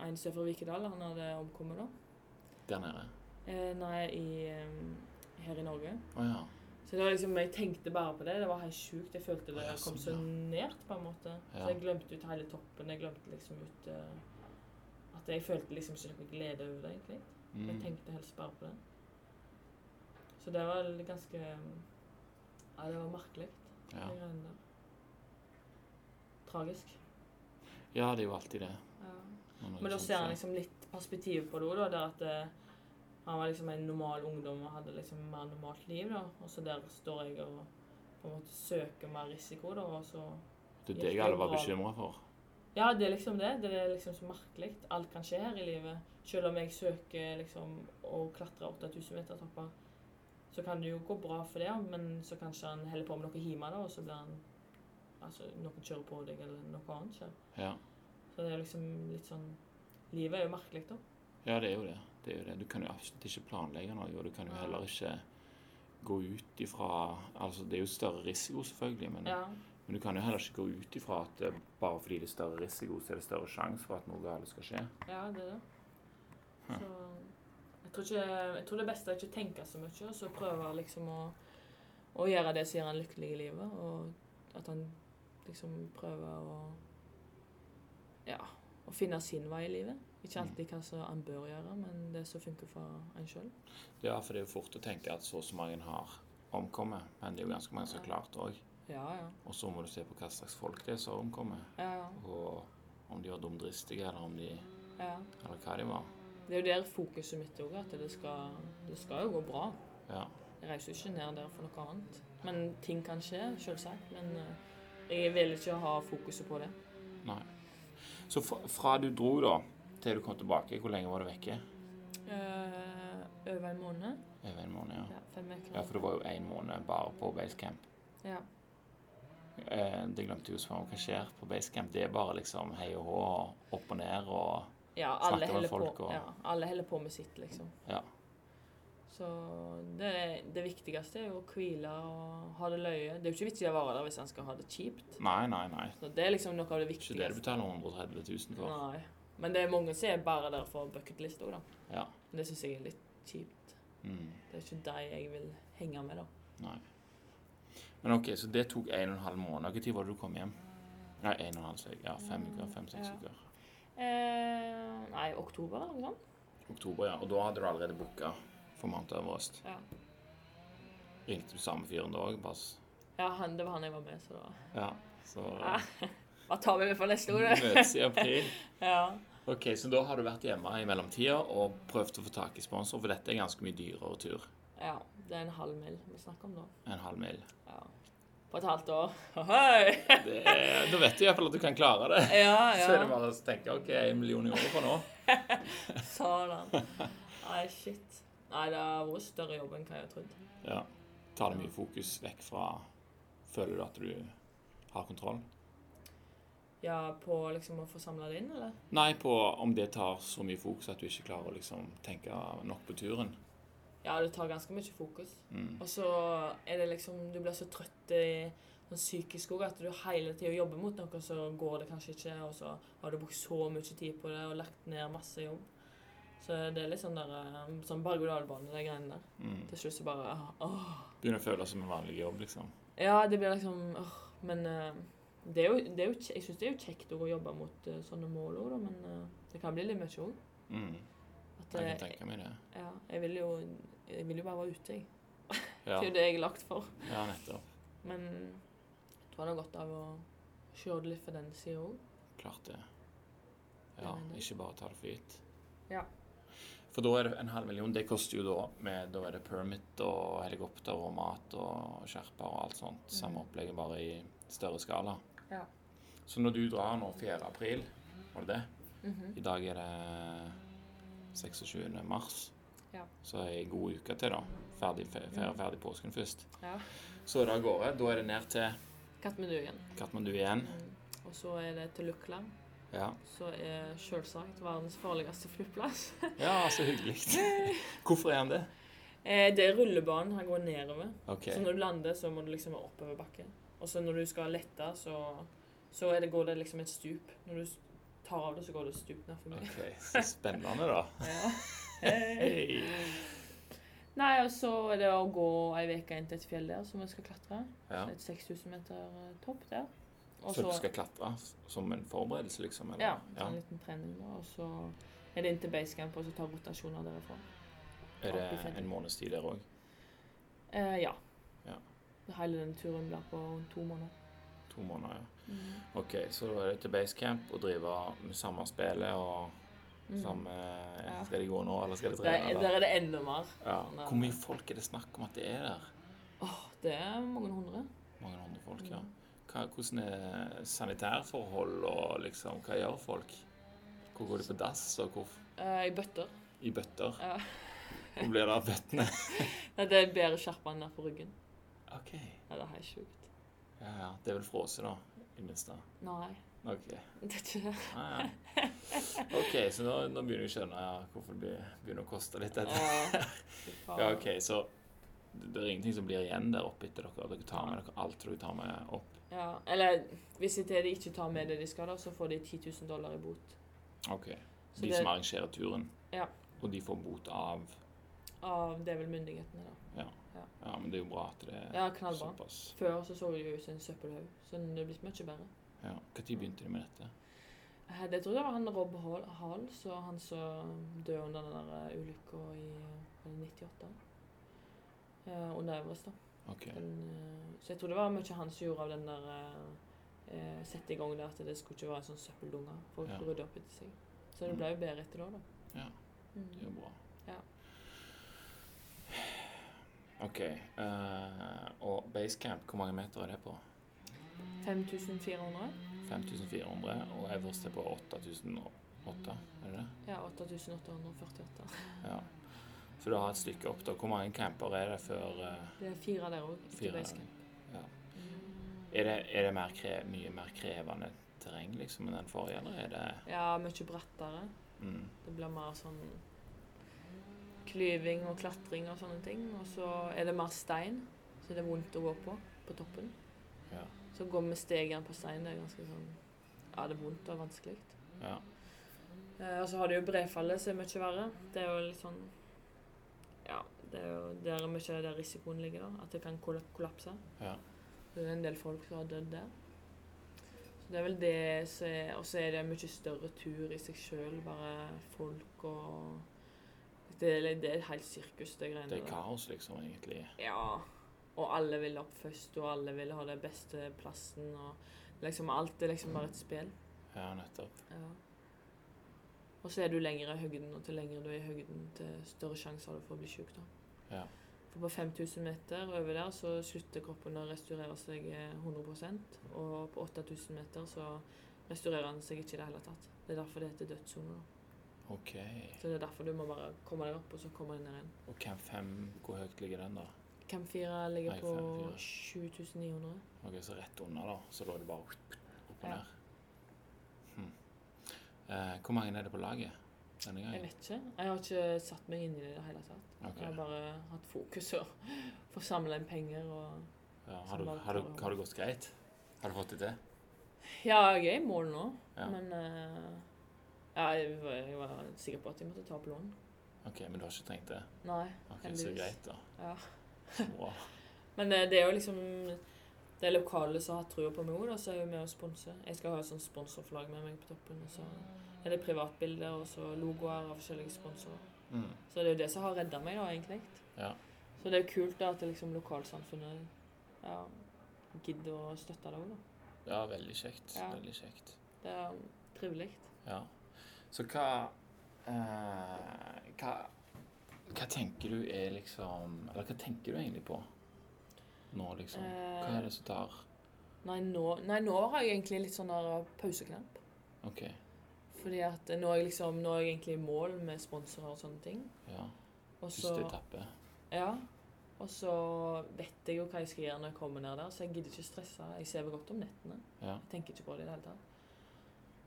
[SPEAKER 2] en sør fra Vikedal. Han hadde omkommet da.
[SPEAKER 1] Der nede.
[SPEAKER 2] Eh, nei, i, eh, her i Norge.
[SPEAKER 1] Å ja.
[SPEAKER 2] Så det var liksom, Jeg tenkte bare på det. Det var helt sjukt. Jeg følte det
[SPEAKER 1] Ja,
[SPEAKER 2] kom så
[SPEAKER 1] sånn,
[SPEAKER 2] nært, på en måte.
[SPEAKER 1] Ja.
[SPEAKER 2] Så jeg glemte ut hele toppen. Jeg glemte liksom ut eh, At jeg følte liksom ikke noe glede over det, egentlig. Jeg
[SPEAKER 1] Mm.
[SPEAKER 2] tenkte helst bare på det. Så det var ganske Ja, det var merkelig.
[SPEAKER 1] Ja.
[SPEAKER 2] de greiene der. Tragisk.
[SPEAKER 1] ja, det er jo alltid det.
[SPEAKER 2] Ja.
[SPEAKER 1] når noe
[SPEAKER 2] Men da
[SPEAKER 1] sånt
[SPEAKER 2] ser han
[SPEAKER 1] skjer.
[SPEAKER 2] liksom litt perspektiv på det òg, da. Der at eh, han var liksom en normal ungdom og hadde liksom mer normalt liv, da. Og så der står jeg og på en måte søker mer risiko, da. Og så
[SPEAKER 1] Det er det jeg alle var bekymra for.
[SPEAKER 2] Ja, det er liksom det. Det er liksom så merkelig. Alt kan skje her i livet. Selv om jeg søker liksom å klatre 8000 meter topper, så kan det jo gå bra for det, men så kanskje han heller på med noe hjemme, da, og så blir han Altså, noen kjører på deg, eller noe annet skjer.
[SPEAKER 1] Ja.
[SPEAKER 2] Så det er liksom litt sånn Livet er jo merkelig, da.
[SPEAKER 1] Ja, det er jo det. det, er jo det. Du kan jo absolutt ikke planlegge noe, og du kan jo
[SPEAKER 2] Nei.
[SPEAKER 1] heller ikke gå ut ifra Altså, det er jo større risiko, selvfølgelig, men,
[SPEAKER 2] Ja.
[SPEAKER 1] men du kan jo heller ikke gå ut ifra at eh, bare fordi det er større risiko, så er det større sjanse for at noe galt skal skje.
[SPEAKER 2] Ja, det er det.
[SPEAKER 1] Hm.
[SPEAKER 2] Så jeg tror, ikke, jeg tror det beste er ikke å tenke så mye, og så prøve liksom å, å gjøre det som gjør han lykkelig i livet. Og at han liksom prøver å Ja, å finne sin vei i livet. Ikke alltid hva som han bør gjøre, men det som funker for en sjøl.
[SPEAKER 1] Ja, for det er jo fort å tenke at så og så mange har omkommet, men det er jo ganske mange som har klart det òg.
[SPEAKER 2] Ja, ja.
[SPEAKER 1] Og så må du se på hva slags folk det er som har omkommet,
[SPEAKER 2] Ja, ja.
[SPEAKER 1] og om de var dumdristige, eller om de
[SPEAKER 2] ja.
[SPEAKER 1] Eller hva de var.
[SPEAKER 2] Det er jo der fokuset mitt òg, at det skal, det skal jo gå bra.
[SPEAKER 1] Ja.
[SPEAKER 2] Jeg reiser jo ikke ned der for noe annet. Men ting kan skje, selvsagt. Men eh, jeg vil ikke ha fokuset på det.
[SPEAKER 1] Nei. Så fra, fra du dro, da, til du kom tilbake, hvor lenge var du vekke?
[SPEAKER 2] Eh, over en måned.
[SPEAKER 1] Over en måned, ja.
[SPEAKER 2] Ja, fem uker.
[SPEAKER 1] Ja, for det var jo én måned bare på basecamp.
[SPEAKER 2] Ja.
[SPEAKER 1] Eh, det glemte jeg å spørre om. Hva skjer på basecamp? Det er bare liksom hei og hå, opp og ned og
[SPEAKER 2] Ja, alle
[SPEAKER 1] med
[SPEAKER 2] holder
[SPEAKER 1] folk
[SPEAKER 2] på,
[SPEAKER 1] og-
[SPEAKER 2] ja, alle holder på med sitt, liksom.
[SPEAKER 1] Ja.
[SPEAKER 2] Så det, det viktigste er jo å hvile og ha det løye. Det er jo ikke vits i å være der hvis en skal ha det kjipt.
[SPEAKER 1] Nei, nei, nei.
[SPEAKER 2] Så det er liksom noe av det
[SPEAKER 1] Ikke det du
[SPEAKER 2] viktigste.
[SPEAKER 1] betaler 130 000 for.
[SPEAKER 2] Nei. Men det er mange som er bare der for bucketlist òg, da.
[SPEAKER 1] Ja.
[SPEAKER 2] Men Det syns jeg er litt kjipt.
[SPEAKER 1] Mm,
[SPEAKER 2] Det er ikke de jeg vil henge med, da.
[SPEAKER 1] nei. Men OK, så det tok en og en halv måned. Når var det du kom hjem? Nei, en og en halv, sier jeg. ja, fem uker. Fem-seks
[SPEAKER 2] Ja.
[SPEAKER 1] uker.
[SPEAKER 2] Eh, nei, oktober eller noe sånt.
[SPEAKER 1] Oktober, ja. Og da hadde du allerede booka for Mount Everest.
[SPEAKER 2] Ja.
[SPEAKER 1] Ringte du samme fyren da òg, Bass?
[SPEAKER 2] Ja, han, det var han jeg var med, så da
[SPEAKER 1] Ja. Så
[SPEAKER 2] Ja. Hva tar vi med for neste år, da?
[SPEAKER 1] møtes i april.
[SPEAKER 2] Ja.
[SPEAKER 1] Ok, Så da har du vært hjemme i mellomtida og prøvd å få tak i sponsor, for dette er ganske mye dyrere tur.
[SPEAKER 2] ja. Det er en halv mil vi snakker om da.
[SPEAKER 1] En halv mil.
[SPEAKER 2] Ja. På et halvt år. Ohoi!
[SPEAKER 1] Det er, da vet du iallfall at du kan klare det.
[SPEAKER 2] Ja,
[SPEAKER 1] Så er det
[SPEAKER 2] ja.
[SPEAKER 1] bare å tenke OK, en million i året fra nå.
[SPEAKER 2] Satan. Nei, shit. Nei, det har vært større jobb enn hva jeg trodde.
[SPEAKER 1] Ja. Tar det mye fokus vekk fra Føler du at du har kontroll?
[SPEAKER 2] Ja, på liksom å få samla det inn, eller?
[SPEAKER 1] Nei, på om det tar så mye fokus at du ikke klarer å liksom tenke nok på turen.
[SPEAKER 2] Ja, det tar ganske mye fokus.
[SPEAKER 1] Mm.
[SPEAKER 2] Og så er det liksom Du blir så trøtt i sånn psykisk òg at du hele tida jobber mot noe, og så går det kanskje ikke, og så har du brukt så mye tid på det og lagt ned masse jobb. Så det er litt sånn der eh, sånn berg-og-dal-bane, de greiene der.
[SPEAKER 1] Mm.
[SPEAKER 2] Til slutt så bare åh.
[SPEAKER 1] Begynner å føle det som en vanlig jobb, liksom.
[SPEAKER 2] Ja, det blir liksom åh, Men eh, det er jo, det er jo, kje- jeg syns det er jo kjekt også å jobbe mot eh, sånne mål òg, da, uh, men eh, det kan bli litt mye òg.
[SPEAKER 1] Mm.
[SPEAKER 2] At
[SPEAKER 1] Jeg
[SPEAKER 2] eh,
[SPEAKER 1] kan tenke meg det.
[SPEAKER 2] ja, jeg vil jo Jeg vil jo bare være ute, jeg. Det
[SPEAKER 1] Ja,
[SPEAKER 2] er jo det jeg er lagt for.
[SPEAKER 1] ja nettopp.
[SPEAKER 2] Men jeg tror han har godt av å se det litt fra den sida òg.
[SPEAKER 1] Klart det. Ja,
[SPEAKER 2] Nei, nei.
[SPEAKER 1] ikke bare ta det for gitt.
[SPEAKER 2] Ja.
[SPEAKER 1] For da er det en halv million. Det koster jo da med Da er det permit og helikopter og mat og skjerper og alt sånt. Samme opplegget, bare i større skala.
[SPEAKER 2] Mhm. Ja.
[SPEAKER 1] Så når du drar nå 4. april, var det det? I dag er det 26. mars.
[SPEAKER 2] Ja. Mhm.
[SPEAKER 1] Så er ei god uke til, da. Ferdig, fe- feire ferdig påsken først.
[SPEAKER 2] ja.
[SPEAKER 1] Så er det av gårde. Da er det ned til
[SPEAKER 2] Katmandu igjen.
[SPEAKER 1] Katmandu igjen.
[SPEAKER 2] Og så er det til Lukla.
[SPEAKER 1] Ja,
[SPEAKER 2] Så er selvsagt verdens farligste flyplass. <laughs>
[SPEAKER 1] ja så hyggelig. Hvorfor er han det?
[SPEAKER 2] Eh, det er rullebanen han går nedover.
[SPEAKER 1] OK.
[SPEAKER 2] Så når du lander, så må du liksom oppover bakken. Og så når du skal lette, så, så er det, går det liksom et stup. Når du s- tar av det, så går det et stup ned for meg.
[SPEAKER 1] OK, så spennende, da. Hei.
[SPEAKER 2] Nei, og så er det å gå ei uke inn til et fjell der som vi skal klatre.
[SPEAKER 1] Ja.
[SPEAKER 2] Et 6000 meter eh, topp der. Og
[SPEAKER 1] Så du skal klatre som en forberedelse, liksom? Eller?
[SPEAKER 2] Ja, sånn så en liten trening da, og så er det inn til basecamp og så ta rotasjoner derifra.
[SPEAKER 1] Er
[SPEAKER 2] opp i
[SPEAKER 1] det
[SPEAKER 2] fjellet.
[SPEAKER 1] en måneds tid der òg?
[SPEAKER 2] Eh, ja.
[SPEAKER 1] Ja.
[SPEAKER 2] Hele den turen blir på rundt to måneder.
[SPEAKER 1] To måneder, ja.
[SPEAKER 2] Mm.
[SPEAKER 1] OK, så da er det til basecamp og drive med samme spillet og
[SPEAKER 2] Mm.
[SPEAKER 1] samme Skal de gå nå, eller skal de
[SPEAKER 2] Der,
[SPEAKER 1] trene? eller?
[SPEAKER 2] der er det enda mer.
[SPEAKER 1] Ja.
[SPEAKER 2] Nei,
[SPEAKER 1] Hvor mye folk er det snakk om at det er der?
[SPEAKER 2] Åh, det er mange hundre.
[SPEAKER 1] Mange hundre folk, ja.
[SPEAKER 2] Mm.
[SPEAKER 1] Hva, hvordan er sanitærforhold og liksom Hva gjør folk? Hvor går de på dass, og hvor
[SPEAKER 2] Eh, I bøtter.
[SPEAKER 1] I bøtter?
[SPEAKER 2] Ja.
[SPEAKER 1] Hvor blir det av bøttene?
[SPEAKER 2] Nei, det er bedre skjerpa enn der på ryggen.
[SPEAKER 1] OK.
[SPEAKER 2] Ja, det er helt sjukt.
[SPEAKER 1] Ja, ja. Det er vel frosset, da, i det minste.
[SPEAKER 2] Nei, <laughs>
[SPEAKER 1] OK.
[SPEAKER 2] det er ikke det.
[SPEAKER 1] Ah, ja. OK, så nå, nå begynner jeg å skjønne ja, hvorfor det blir- begynner å koste litt. Dette.
[SPEAKER 2] Åh,
[SPEAKER 1] Ja, OK, så det det er ingenting som blir igjen der oppe etter dere. Dere tar med dere alt dere tar med opp.
[SPEAKER 2] Ja, eller hvis de til de ikke tar med det de skal, da, så får de 10 000 dollar i bot
[SPEAKER 1] OK.
[SPEAKER 2] Så
[SPEAKER 1] de
[SPEAKER 2] det-
[SPEAKER 1] som arrangerer turen.
[SPEAKER 2] Ja.
[SPEAKER 1] Og de får bot av
[SPEAKER 2] av det er vel myndighetene. da.
[SPEAKER 1] Ja.
[SPEAKER 2] Ja.
[SPEAKER 1] ja, men det er jo bra at det er
[SPEAKER 2] Ja, knallbra.
[SPEAKER 1] såpass.
[SPEAKER 2] Før så så det jo ut som en søppelhaug, så det er blitt mye bedre.
[SPEAKER 1] Ja. Når begynte de med dette?
[SPEAKER 2] Eh, Det tror jeg det var han Rob Hall, Hall så han som døde under den der ulykka i eh, var det 98. Eh, under Everest, da.
[SPEAKER 1] OK.
[SPEAKER 2] Den, eh, så jeg tror det var mye han som gjorde av den der eh, eh, sette i gang der at det skulle ikke være en sånn søppeldunge. Folk
[SPEAKER 1] Ja. Mm.
[SPEAKER 2] rydde opp etter seg. Så det ble jo bedre etter det, da. Mm.
[SPEAKER 1] Ja, det er jo bra.
[SPEAKER 2] Ja.
[SPEAKER 1] OK. eh, og basecamp, hvor mange meter er det på?
[SPEAKER 2] 5400?
[SPEAKER 1] 5400, og Everest er på 8008, er det det?
[SPEAKER 2] Ja, 8848.
[SPEAKER 1] Ja. Så du har et stykke opp, da. Hvor mange camper er det før eh,
[SPEAKER 2] Det er fire der òg, etter
[SPEAKER 1] Fire der.
[SPEAKER 2] basecamp.
[SPEAKER 1] ja. Er det, er det mer kre, mye mer krevende terreng liksom enn den forrige, eller er det
[SPEAKER 2] Ja, mye brattere.
[SPEAKER 1] mm,
[SPEAKER 2] Det blir mer sånn klyving og klatring og sånne ting. Og så er det mer stein, så det er vondt å gå på på toppen.
[SPEAKER 1] ja,
[SPEAKER 2] Så går vi stegene på stein. Det er ganske sånn Ja, det er vondt og vanskelig.
[SPEAKER 1] ja.
[SPEAKER 2] Eh, og så har du jo brefallet, som er mye verre. Det er jo litt sånn Ja, det er jo der er mye der risikoen ligger, da. At det kan kolla- kollapse.
[SPEAKER 1] Ja.
[SPEAKER 2] Det er en del folk som har dødd der. Så det er vel det som er Og så er det en mye større tur i seg sjøl, bare folk og det er, det er et helt sirkus, det greiene
[SPEAKER 1] Det er kaos, liksom, egentlig.
[SPEAKER 2] Ja. Og alle vil opp først, og alle vil ha den beste plassen, og liksom alt er liksom bare et spill.
[SPEAKER 1] Ja, nettopp.
[SPEAKER 2] Ja. Og så er du lenger i høgden, og til lenger du er i høgden, til større sjanse har du for å bli sjuk. da.
[SPEAKER 1] Ja.
[SPEAKER 2] For på 5000 meter over der så slutter kroppen å restaurere seg eh, 100 og på 8000 meter så restaurerer den seg ikke i det hele tatt. Det er derfor det heter dødssone. da.
[SPEAKER 1] OK.
[SPEAKER 2] Så det er derfor du må bare komme deg opp, og så komme deg ned igjen.
[SPEAKER 1] Og Camp 5, hvor høyt ligger den, da?
[SPEAKER 2] Camp 4 ligger
[SPEAKER 1] Nei,
[SPEAKER 2] på
[SPEAKER 1] Camp
[SPEAKER 2] 7900.
[SPEAKER 1] Ok, Så rett under, da. Så lå det bare opp og
[SPEAKER 2] Ja.
[SPEAKER 1] ned. Hm. Eh, hvor mange er det på laget denne
[SPEAKER 2] Jeg
[SPEAKER 1] gangen?
[SPEAKER 2] vet ikke. Jeg har ikke satt meg inn i det i det hele tatt.
[SPEAKER 1] Ok.
[SPEAKER 2] Jeg har bare hatt fokus og <laughs> få samla inn penger og
[SPEAKER 1] Ja, har, du, har, du, har det gått greit? Har du fått det til?
[SPEAKER 2] Ja, jeg er i mål nå,
[SPEAKER 1] Ja.
[SPEAKER 2] men eh, ja, jeg, var, jeg var sikker på at jeg måtte ta opp lån.
[SPEAKER 1] OK, men du har ikke trengt det?
[SPEAKER 2] Nei.
[SPEAKER 1] Ok, Så
[SPEAKER 2] Heldigvis.
[SPEAKER 1] greit, da. <laughs> Så
[SPEAKER 2] Ja.
[SPEAKER 1] bra.
[SPEAKER 2] Men eh, det er jo liksom de lokale som har trua på meg òg, så er jo med å sponse. Jeg skal ha et sånt sponsorflagg med meg på toppen. Og så er det privatbilder og så logoer av forskjellige sponsorer.
[SPEAKER 1] Mm.
[SPEAKER 2] Så det er jo det som har redda meg, da, egentlig.
[SPEAKER 1] Ja.
[SPEAKER 2] Så det er jo kult da, at liksom, lokalsamfunnet ja, gidder å støtte det òg, da.
[SPEAKER 1] ja, veldig kjekt.
[SPEAKER 2] Ja.
[SPEAKER 1] Veldig kjekt.
[SPEAKER 2] Det er um, trivelig.
[SPEAKER 1] Ja. Så hva eh, Hva hva tenker du er liksom Eller hva tenker du egentlig på nå, liksom? Hva er det som tar
[SPEAKER 2] Eh, Nei, nå, nei, nå har jeg egentlig litt sånn der pauseknapp.
[SPEAKER 1] OK.
[SPEAKER 2] Fordi at nå er jeg liksom, nå er jeg egentlig i mål med sponsorer og sånne ting.
[SPEAKER 1] Ja.
[SPEAKER 2] Og så,
[SPEAKER 1] Første etappe.
[SPEAKER 2] ja, og så vet jeg jo hva jeg skal gjøre når jeg kommer ned der, så jeg gidder ikke stresse. Jeg sover godt om nettene.
[SPEAKER 1] Ja.
[SPEAKER 2] Jeg tenker ikke på det i det hele tatt.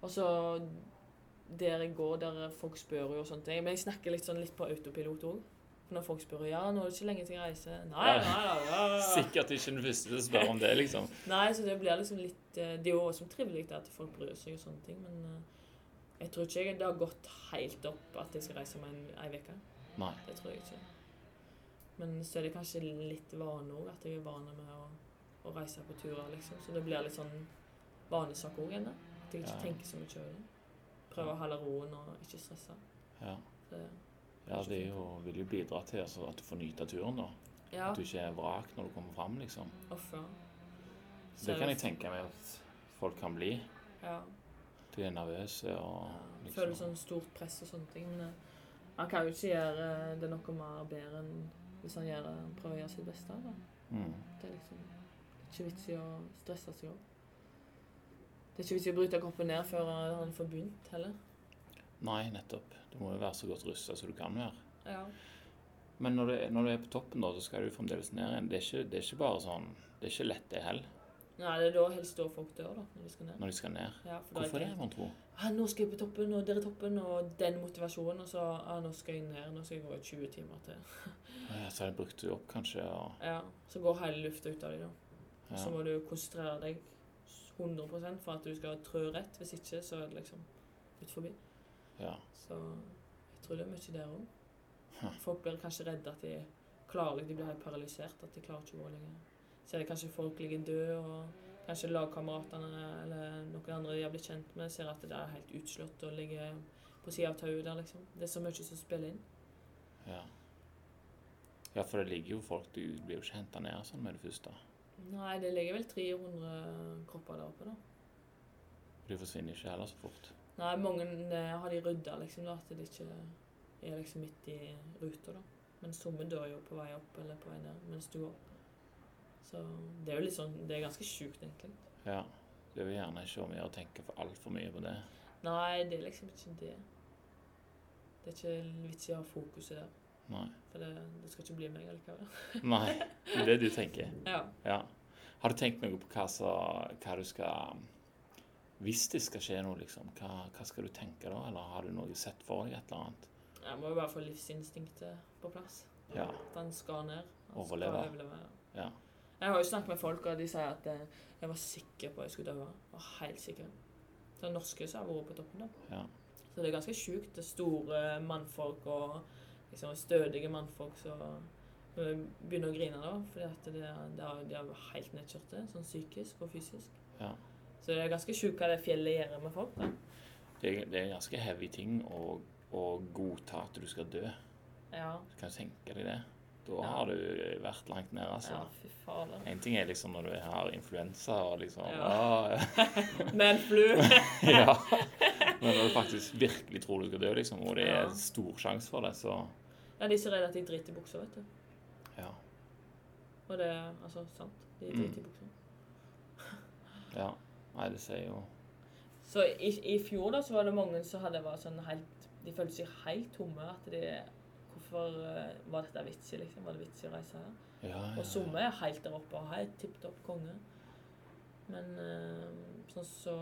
[SPEAKER 2] Og så der jeg går, der folk spør jo og sånne ting. Men jeg snakker litt sånn litt på autopilot òg. Når folk spør ja, nå er det ikke lenge til jeg reiser. Nei,
[SPEAKER 1] Ja.
[SPEAKER 2] nei, nei, nei,
[SPEAKER 1] <laughs>
[SPEAKER 2] nei, nei.
[SPEAKER 1] Sikkert ikke den første til å spørre om det, liksom.
[SPEAKER 2] nei så det blir liksom litt eh, Det er jo også trivelig at folk bryr seg og sånne ting, men eh, jeg tror ikke jeg, det har gått helt opp at jeg skal reise om en- ei uke.
[SPEAKER 1] Nei.
[SPEAKER 2] Det tror jeg ikke. Men så er det kanskje litt vane òg, at jeg er vane med å, å reise på turer, liksom. Så det blir litt sånn vanesak òg ennå. At jeg ikke
[SPEAKER 1] Ja.
[SPEAKER 2] tenker så mye over det. Prøve å holde roen og ikke stresse.
[SPEAKER 1] Ja.
[SPEAKER 2] Det,
[SPEAKER 1] Ja, det er jo, vil jo bidra til altså, at du får nyte av turen, da.
[SPEAKER 2] ja.
[SPEAKER 1] At du ikke er vrak når du kommer fram, liksom.
[SPEAKER 2] Offer.
[SPEAKER 1] Så det kan jeg tenke meg at folk kan bli.
[SPEAKER 2] Ja.
[SPEAKER 1] De er nervøse og
[SPEAKER 2] Jeg
[SPEAKER 1] liksom
[SPEAKER 2] Føler sånn stort press og sånne ting. Men eh, han kan jo ikke gjøre eh, det noe mer bedre enn hvis han gjør, eh, prøver å gjøre sitt beste. da.
[SPEAKER 1] mm.
[SPEAKER 2] Det er liksom ikke vits i å stresse seg opp. Det er ikke vits i å bryte kroppen ned før han får begynt heller.
[SPEAKER 1] Nei, nettopp. Du må jo være så godt rusta som du kan være.
[SPEAKER 2] Ja.
[SPEAKER 1] Men når du, når du er på toppen, da, så skal du jo fremdeles ned igjen. Det er ikke, det er ikke bare sånn Det er ikke lett, det heller,
[SPEAKER 2] Nei, det er da helst da folk dør, da, når de skal ned.
[SPEAKER 1] når de skal ned.
[SPEAKER 2] Ja, for da
[SPEAKER 1] Hvorfor
[SPEAKER 2] er
[SPEAKER 1] det,
[SPEAKER 2] helt-
[SPEAKER 1] mon tro?
[SPEAKER 2] «Ah, Nå skal jeg på toppen, og der er toppen, og den motivasjonen, og så ah, nå skal jeg ned, nå skal jeg gå i 20 timer til.
[SPEAKER 1] Å Ja, så har de brukt det opp, kanskje, og
[SPEAKER 2] Ja, Så går hele lufta ut av deg, da. Og Så
[SPEAKER 1] ja.
[SPEAKER 2] må du konsentrere deg 100 for at du skal trø rett. Hvis ikke, så er det liksom ut forbi.
[SPEAKER 1] ja.
[SPEAKER 2] Så jeg tror det er mye der òg. Folk blir kanskje redde at de klarer De blir helt paralysert. At de klarer ikke å gå lenger. Ser det kanskje folk ligger døde, og kanskje lagkameratene eller noen andre de har blitt kjent med, ser at det er helt utslått og ligger på sida av tauet der, liksom. Det er så mye som spiller inn.
[SPEAKER 1] ja. Ja, for det ligger jo folk Du blir jo ikke henta ned sånn med det første.
[SPEAKER 2] Nei, det ligger vel 300 kropper der oppe, da.
[SPEAKER 1] De forsvinner ikke heller så fort.
[SPEAKER 2] Nei, mange eh, har de rydda, liksom, da, at de ikke er liksom midt i ruta, da. Men somme dør jo på vei opp eller på vei ned mens du går. Så det er jo litt sånn Det er ganske sjukt, egentlig.
[SPEAKER 1] Ja. Det er jo gjerne ikke om å gjøre å tenke for altfor mye på det.
[SPEAKER 2] Nei, det er liksom ikke det. Det er ikke vits i å ha fokuset der.
[SPEAKER 1] Nei.
[SPEAKER 2] For det, det skal ikke bli meg allikevel.
[SPEAKER 1] Nei. Det er det du tenker.
[SPEAKER 2] Ja.
[SPEAKER 1] Ja. Har du tenkt noe på hva, så, hva du skal Hvis det skal skje noe, liksom, hva, hva skal du tenke da? Eller har du noe sett for deg et eller annet?
[SPEAKER 2] Jeg må jo bare få livsinstinktet på plass.
[SPEAKER 1] Ja.
[SPEAKER 2] At han skal ned. Han
[SPEAKER 1] Overleve.
[SPEAKER 2] Skal overleve ja.
[SPEAKER 1] Ja.
[SPEAKER 2] Jeg har jo snakket med folk, og de sier at eh, jeg var sikker på at jeg skulle dø. Jeg var helt sikker. Det er norske som har vært på toppen, da.
[SPEAKER 1] Ja.
[SPEAKER 2] Så det er ganske sjukt. Det er store mannfolk og liksom stødige mannfolk som eh, begynner å grine, da. Fordi at det, det er, de er helt nedkjørte, sånn psykisk og fysisk.
[SPEAKER 1] ja.
[SPEAKER 2] Så det er ganske sjukt hva det fjellet gjør med folk. da.
[SPEAKER 1] Det, er- det er en ganske heavy ting å, å godta at du skal dø.
[SPEAKER 2] Ja.
[SPEAKER 1] Kan du tenke deg det? Da
[SPEAKER 2] Ja.
[SPEAKER 1] har du vært langt nede, altså.
[SPEAKER 2] ja, fy fader.
[SPEAKER 1] En ting er liksom når du har influensa og liksom
[SPEAKER 2] Ja.
[SPEAKER 1] ah,
[SPEAKER 2] Men flu!
[SPEAKER 1] <laughs> ja. Men når du faktisk virkelig tror du skal dø, liksom, og det er
[SPEAKER 2] Ja.
[SPEAKER 1] stor sjanse for det, så
[SPEAKER 2] <laughs> Ja, de er så redde at de driter i buksa, vet du.
[SPEAKER 1] ja.
[SPEAKER 2] Og det er altså sant. De driter i buksa.
[SPEAKER 1] ja. Nei, det sier jo
[SPEAKER 2] Så i, i fjor da, så var det mange som hadde vært sånn helt De følte seg helt tomme. At de Hvorfor eh, var dette vits i, liksom? Var det vits i å reise her?
[SPEAKER 1] Ja, ja,
[SPEAKER 2] Og
[SPEAKER 1] ja.
[SPEAKER 2] somme er helt der oppe og helt tipp topp konge. Men eh, sånn så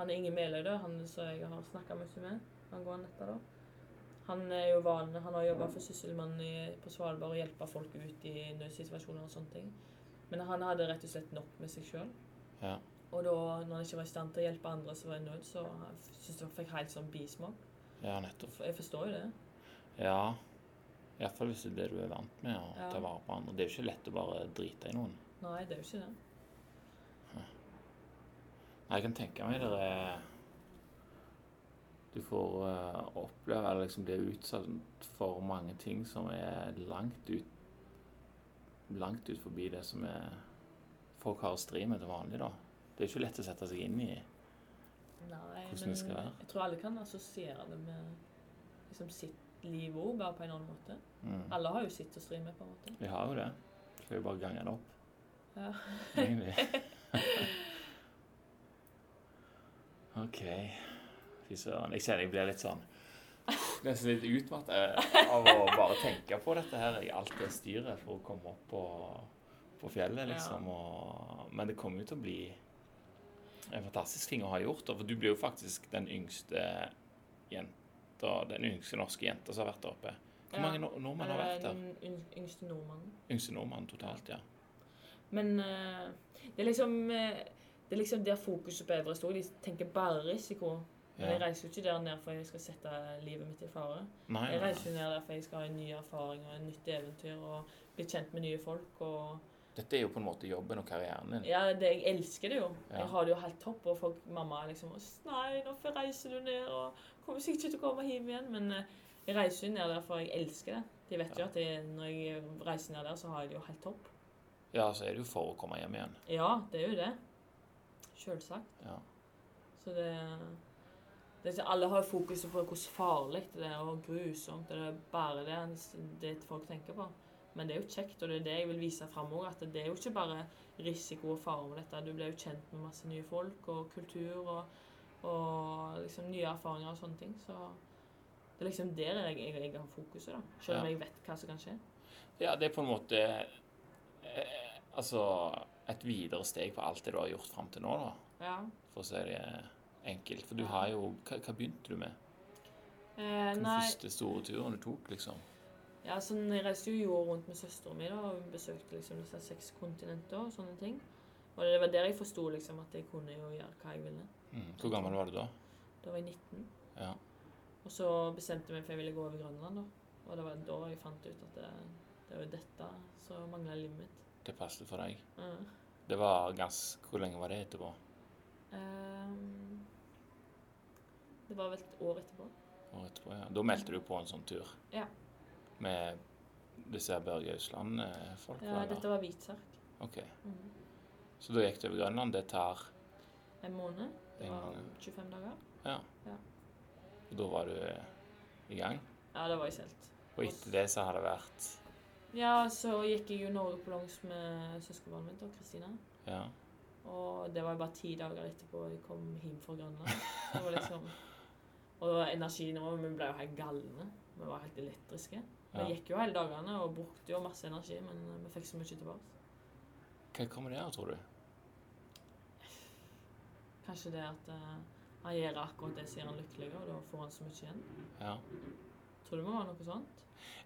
[SPEAKER 2] Han Inge Meløy, da, han som jeg har snakka mye med, han går nettet, da. Han er jo van, han har jobba for sysselmannen i- på Svalbard og hjelpa folk ut i nødsituasjoner og sånne ting. Men han hadde rett og slett nok med seg sjøl.
[SPEAKER 1] Ja.
[SPEAKER 2] Og da, når han ikke var i stand til å hjelpe andre som var i nød, så syntes jeg han fikk helt sånn bismak.
[SPEAKER 1] Ja, nettopp.
[SPEAKER 2] For Jeg forstår jo det.
[SPEAKER 1] Ja. Iallfall hvis det er det du er vant med, å
[SPEAKER 2] Ja.
[SPEAKER 1] ta vare på andre. Det er jo ikke lett å bare drite i noen.
[SPEAKER 2] Nei, det er jo ikke det.
[SPEAKER 1] Nei, Jeg kan tenke meg det er eh, Du får eh, oppleve eller liksom bli utsatt for mange ting som er langt ut Langt ut forbi det som er folk har å stri med til vanlig, da. Det er ikke lett å sette seg inn i.
[SPEAKER 2] Nei,
[SPEAKER 1] Hvordan det
[SPEAKER 2] men
[SPEAKER 1] skal være.
[SPEAKER 2] jeg tror alle kan assosiere det med liksom sitt liv òg, bare på en annen måte.
[SPEAKER 1] Mm.
[SPEAKER 2] Alle har jo sitt å stri med, på en måte.
[SPEAKER 1] Vi har jo det. Skal vi bare gange det opp,
[SPEAKER 2] Ja. <laughs>
[SPEAKER 1] egentlig? OK. Fy søren. Jeg ser jeg blir litt sånn Nesten litt utmatt eh, av å bare tenke på dette her i alt det styret for å komme opp på, på fjellet,
[SPEAKER 2] Ja.
[SPEAKER 1] liksom. Og, men det kommer jo til å bli en fantastisk ting å ha gjort. da, For du blir jo faktisk den yngste jenta, den yngste norske jenta som har vært der oppe. Hvor mange nor- nordmenn har vært der?
[SPEAKER 2] Eh, Den yng- yngste nordmannen.
[SPEAKER 1] Yngste nordmann totalt, ja.
[SPEAKER 2] Men eh, det, er liksom, eh, det er liksom der fokuset på Everest òg. De tenker bare risiko. Men jeg
[SPEAKER 1] ja.
[SPEAKER 2] reiser jo ikke der ned for jeg skal sette livet mitt i fare.
[SPEAKER 1] Nei,
[SPEAKER 2] Jeg
[SPEAKER 1] nei,
[SPEAKER 2] reiser jo ned der for jeg skal ha en ny erfaring og en nytt eventyr og bli kjent med nye folk. og...
[SPEAKER 1] Dette er jo på en måte jobben og karrieren din.
[SPEAKER 2] Ja, det, jeg elsker det jo.
[SPEAKER 1] Ja.
[SPEAKER 2] Jeg har det jo helt topp. Og folk, mamma er liksom «Ås, Nei, nå får- reiser du ned og kommer sikkert ikke til å komme hjem igjen. Men eh, jeg reiser jo ned der for jeg elsker det. De vet jo at jeg, når jeg reiser ned der, så har jeg det jo helt topp.
[SPEAKER 1] Ja, så er det jo for å komme hjem igjen.
[SPEAKER 2] Ja, det er jo det. Sjølsagt.
[SPEAKER 1] Ja.
[SPEAKER 2] Så det, det er så- Alle har fokuset på hvor farlig det er og grusomt. Det er bare det, det folk tenker på. Men det er jo kjekt, og det er det jeg vil vise fram òg. At det er jo ikke bare risiko og fare med dette. Du blir jo kjent med masse nye folk og kultur og, og liksom nye erfaringer og sånne ting. Så det er liksom der jeg, jeg, jeg har fokuset, da. Selv om
[SPEAKER 1] Ja.
[SPEAKER 2] jeg vet hva som kan skje.
[SPEAKER 1] Ja, det er på en måte eh, Altså et videre steg på alt det du har gjort fram til nå, da.
[SPEAKER 2] Ja.
[SPEAKER 1] For å si det enkelt. For du har jo Hva, hva begynte du med?
[SPEAKER 2] Eh,
[SPEAKER 1] Den
[SPEAKER 2] nei.
[SPEAKER 1] første store turen du tok, liksom?
[SPEAKER 2] Ja, sånn, jeg reiste jo jorda rundt med søsteren min da, og hun besøkte liksom disse seks kontinenter og sånne ting. Og det var der jeg forsto liksom, at jeg kunne jo gjøre hva jeg ville.
[SPEAKER 1] Mm. Hvor gammel var du da?
[SPEAKER 2] Da var jeg 19.
[SPEAKER 1] Ja.
[SPEAKER 2] Og så bestemte jeg meg for jeg ville gå over Grønland. da. Og det var da jeg fant ut at det, det var jo dette som mangla livet mitt.
[SPEAKER 1] Det passet for deg?
[SPEAKER 2] Ja.
[SPEAKER 1] Det var ganske Hvor lenge var det etterpå?
[SPEAKER 2] Ehm, det var vel et år etterpå.
[SPEAKER 1] Året etterpå, ja. Da meldte du på en sånn tur?
[SPEAKER 2] Ja.
[SPEAKER 1] Med disse her Børge Ausland-folka?
[SPEAKER 2] Ja, dette var Hvitserk.
[SPEAKER 1] OK.
[SPEAKER 2] Mhm.
[SPEAKER 1] Så da gikk du over Grønland. Det tar
[SPEAKER 2] En måned. Det
[SPEAKER 1] En
[SPEAKER 2] var
[SPEAKER 1] måned.
[SPEAKER 2] 25 dager.
[SPEAKER 1] Ja.
[SPEAKER 2] Ja.
[SPEAKER 1] Og da var du eh, i gang.
[SPEAKER 2] Ja, det var jeg helt.
[SPEAKER 1] Og etter det så har det vært
[SPEAKER 2] Ja, så gikk jeg jo Norge på langs med søskenbarnet mitt og Kristina.
[SPEAKER 1] Ja.
[SPEAKER 2] Og det var jo bare ti dager etterpå jeg kom hjem fra Grønland. Det var <laughs> liksom... Og energinivået Vi ble jo helt galne. Vi var helt elektriske. Vi
[SPEAKER 1] ja.
[SPEAKER 2] gikk jo hele dagene og brukte jo masse energi, men eh, vi fikk så mye tilbake.
[SPEAKER 1] Hva kommer det av, tror du?
[SPEAKER 2] Kanskje det at eh, han gjør akkurat det som gjør han lykkelig, og da får han så mye igjen.
[SPEAKER 1] Ja,
[SPEAKER 2] Tror du det må være noe sånt?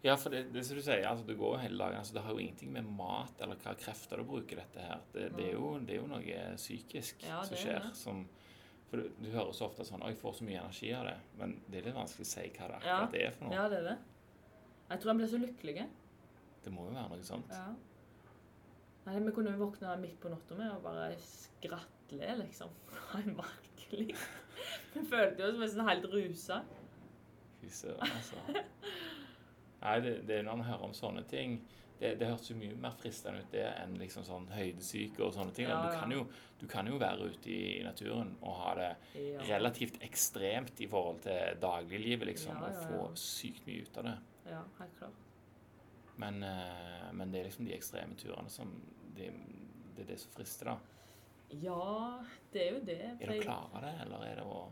[SPEAKER 1] ja for det, det som du sier, altså, det går jo hele dagen. Altså, det har jo ingenting med mat eller hva krefter du bruker dette her. Det, det, er, jo, det er jo noe eh, psykisk
[SPEAKER 2] Ja,
[SPEAKER 1] som
[SPEAKER 2] det er
[SPEAKER 1] skjer.
[SPEAKER 2] det.
[SPEAKER 1] Som, for du, du hører så ofte sånn 'Å, jeg får så mye energi av det', men det er litt vanskelig å si hva det
[SPEAKER 2] Ja.
[SPEAKER 1] akkurat er for noe.
[SPEAKER 2] Ja, det er det. Jeg tror han ble så lykkelig.
[SPEAKER 1] Det må jo være noe sånt.
[SPEAKER 2] Ja. Nei, Vi kunne jo våkne midt på natta med og bare skratle, liksom. <laughs> Nei, merkelig. Vi følte oss nesten helt rusa.
[SPEAKER 1] Fy søren, altså. Nei, det, det er når man hører om sånne ting Det, det hørtes jo mye mer fristende ut det enn liksom sånn høydesyke og sånne ting.
[SPEAKER 2] Ja,
[SPEAKER 1] du,
[SPEAKER 2] ja.
[SPEAKER 1] kan jo, du kan jo være ute i, i naturen og ha det
[SPEAKER 2] Ja.
[SPEAKER 1] relativt ekstremt i forhold til dagliglivet, liksom,
[SPEAKER 2] Ja, ja, ja.
[SPEAKER 1] og få sykt mye ut av det.
[SPEAKER 2] ja, helt klart.
[SPEAKER 1] Men, eh, men det er liksom de ekstreme turene som det, det er det som frister, da.
[SPEAKER 2] Ja, det er jo det. for
[SPEAKER 1] Er du
[SPEAKER 2] jeg-
[SPEAKER 1] klar av det, eller er det å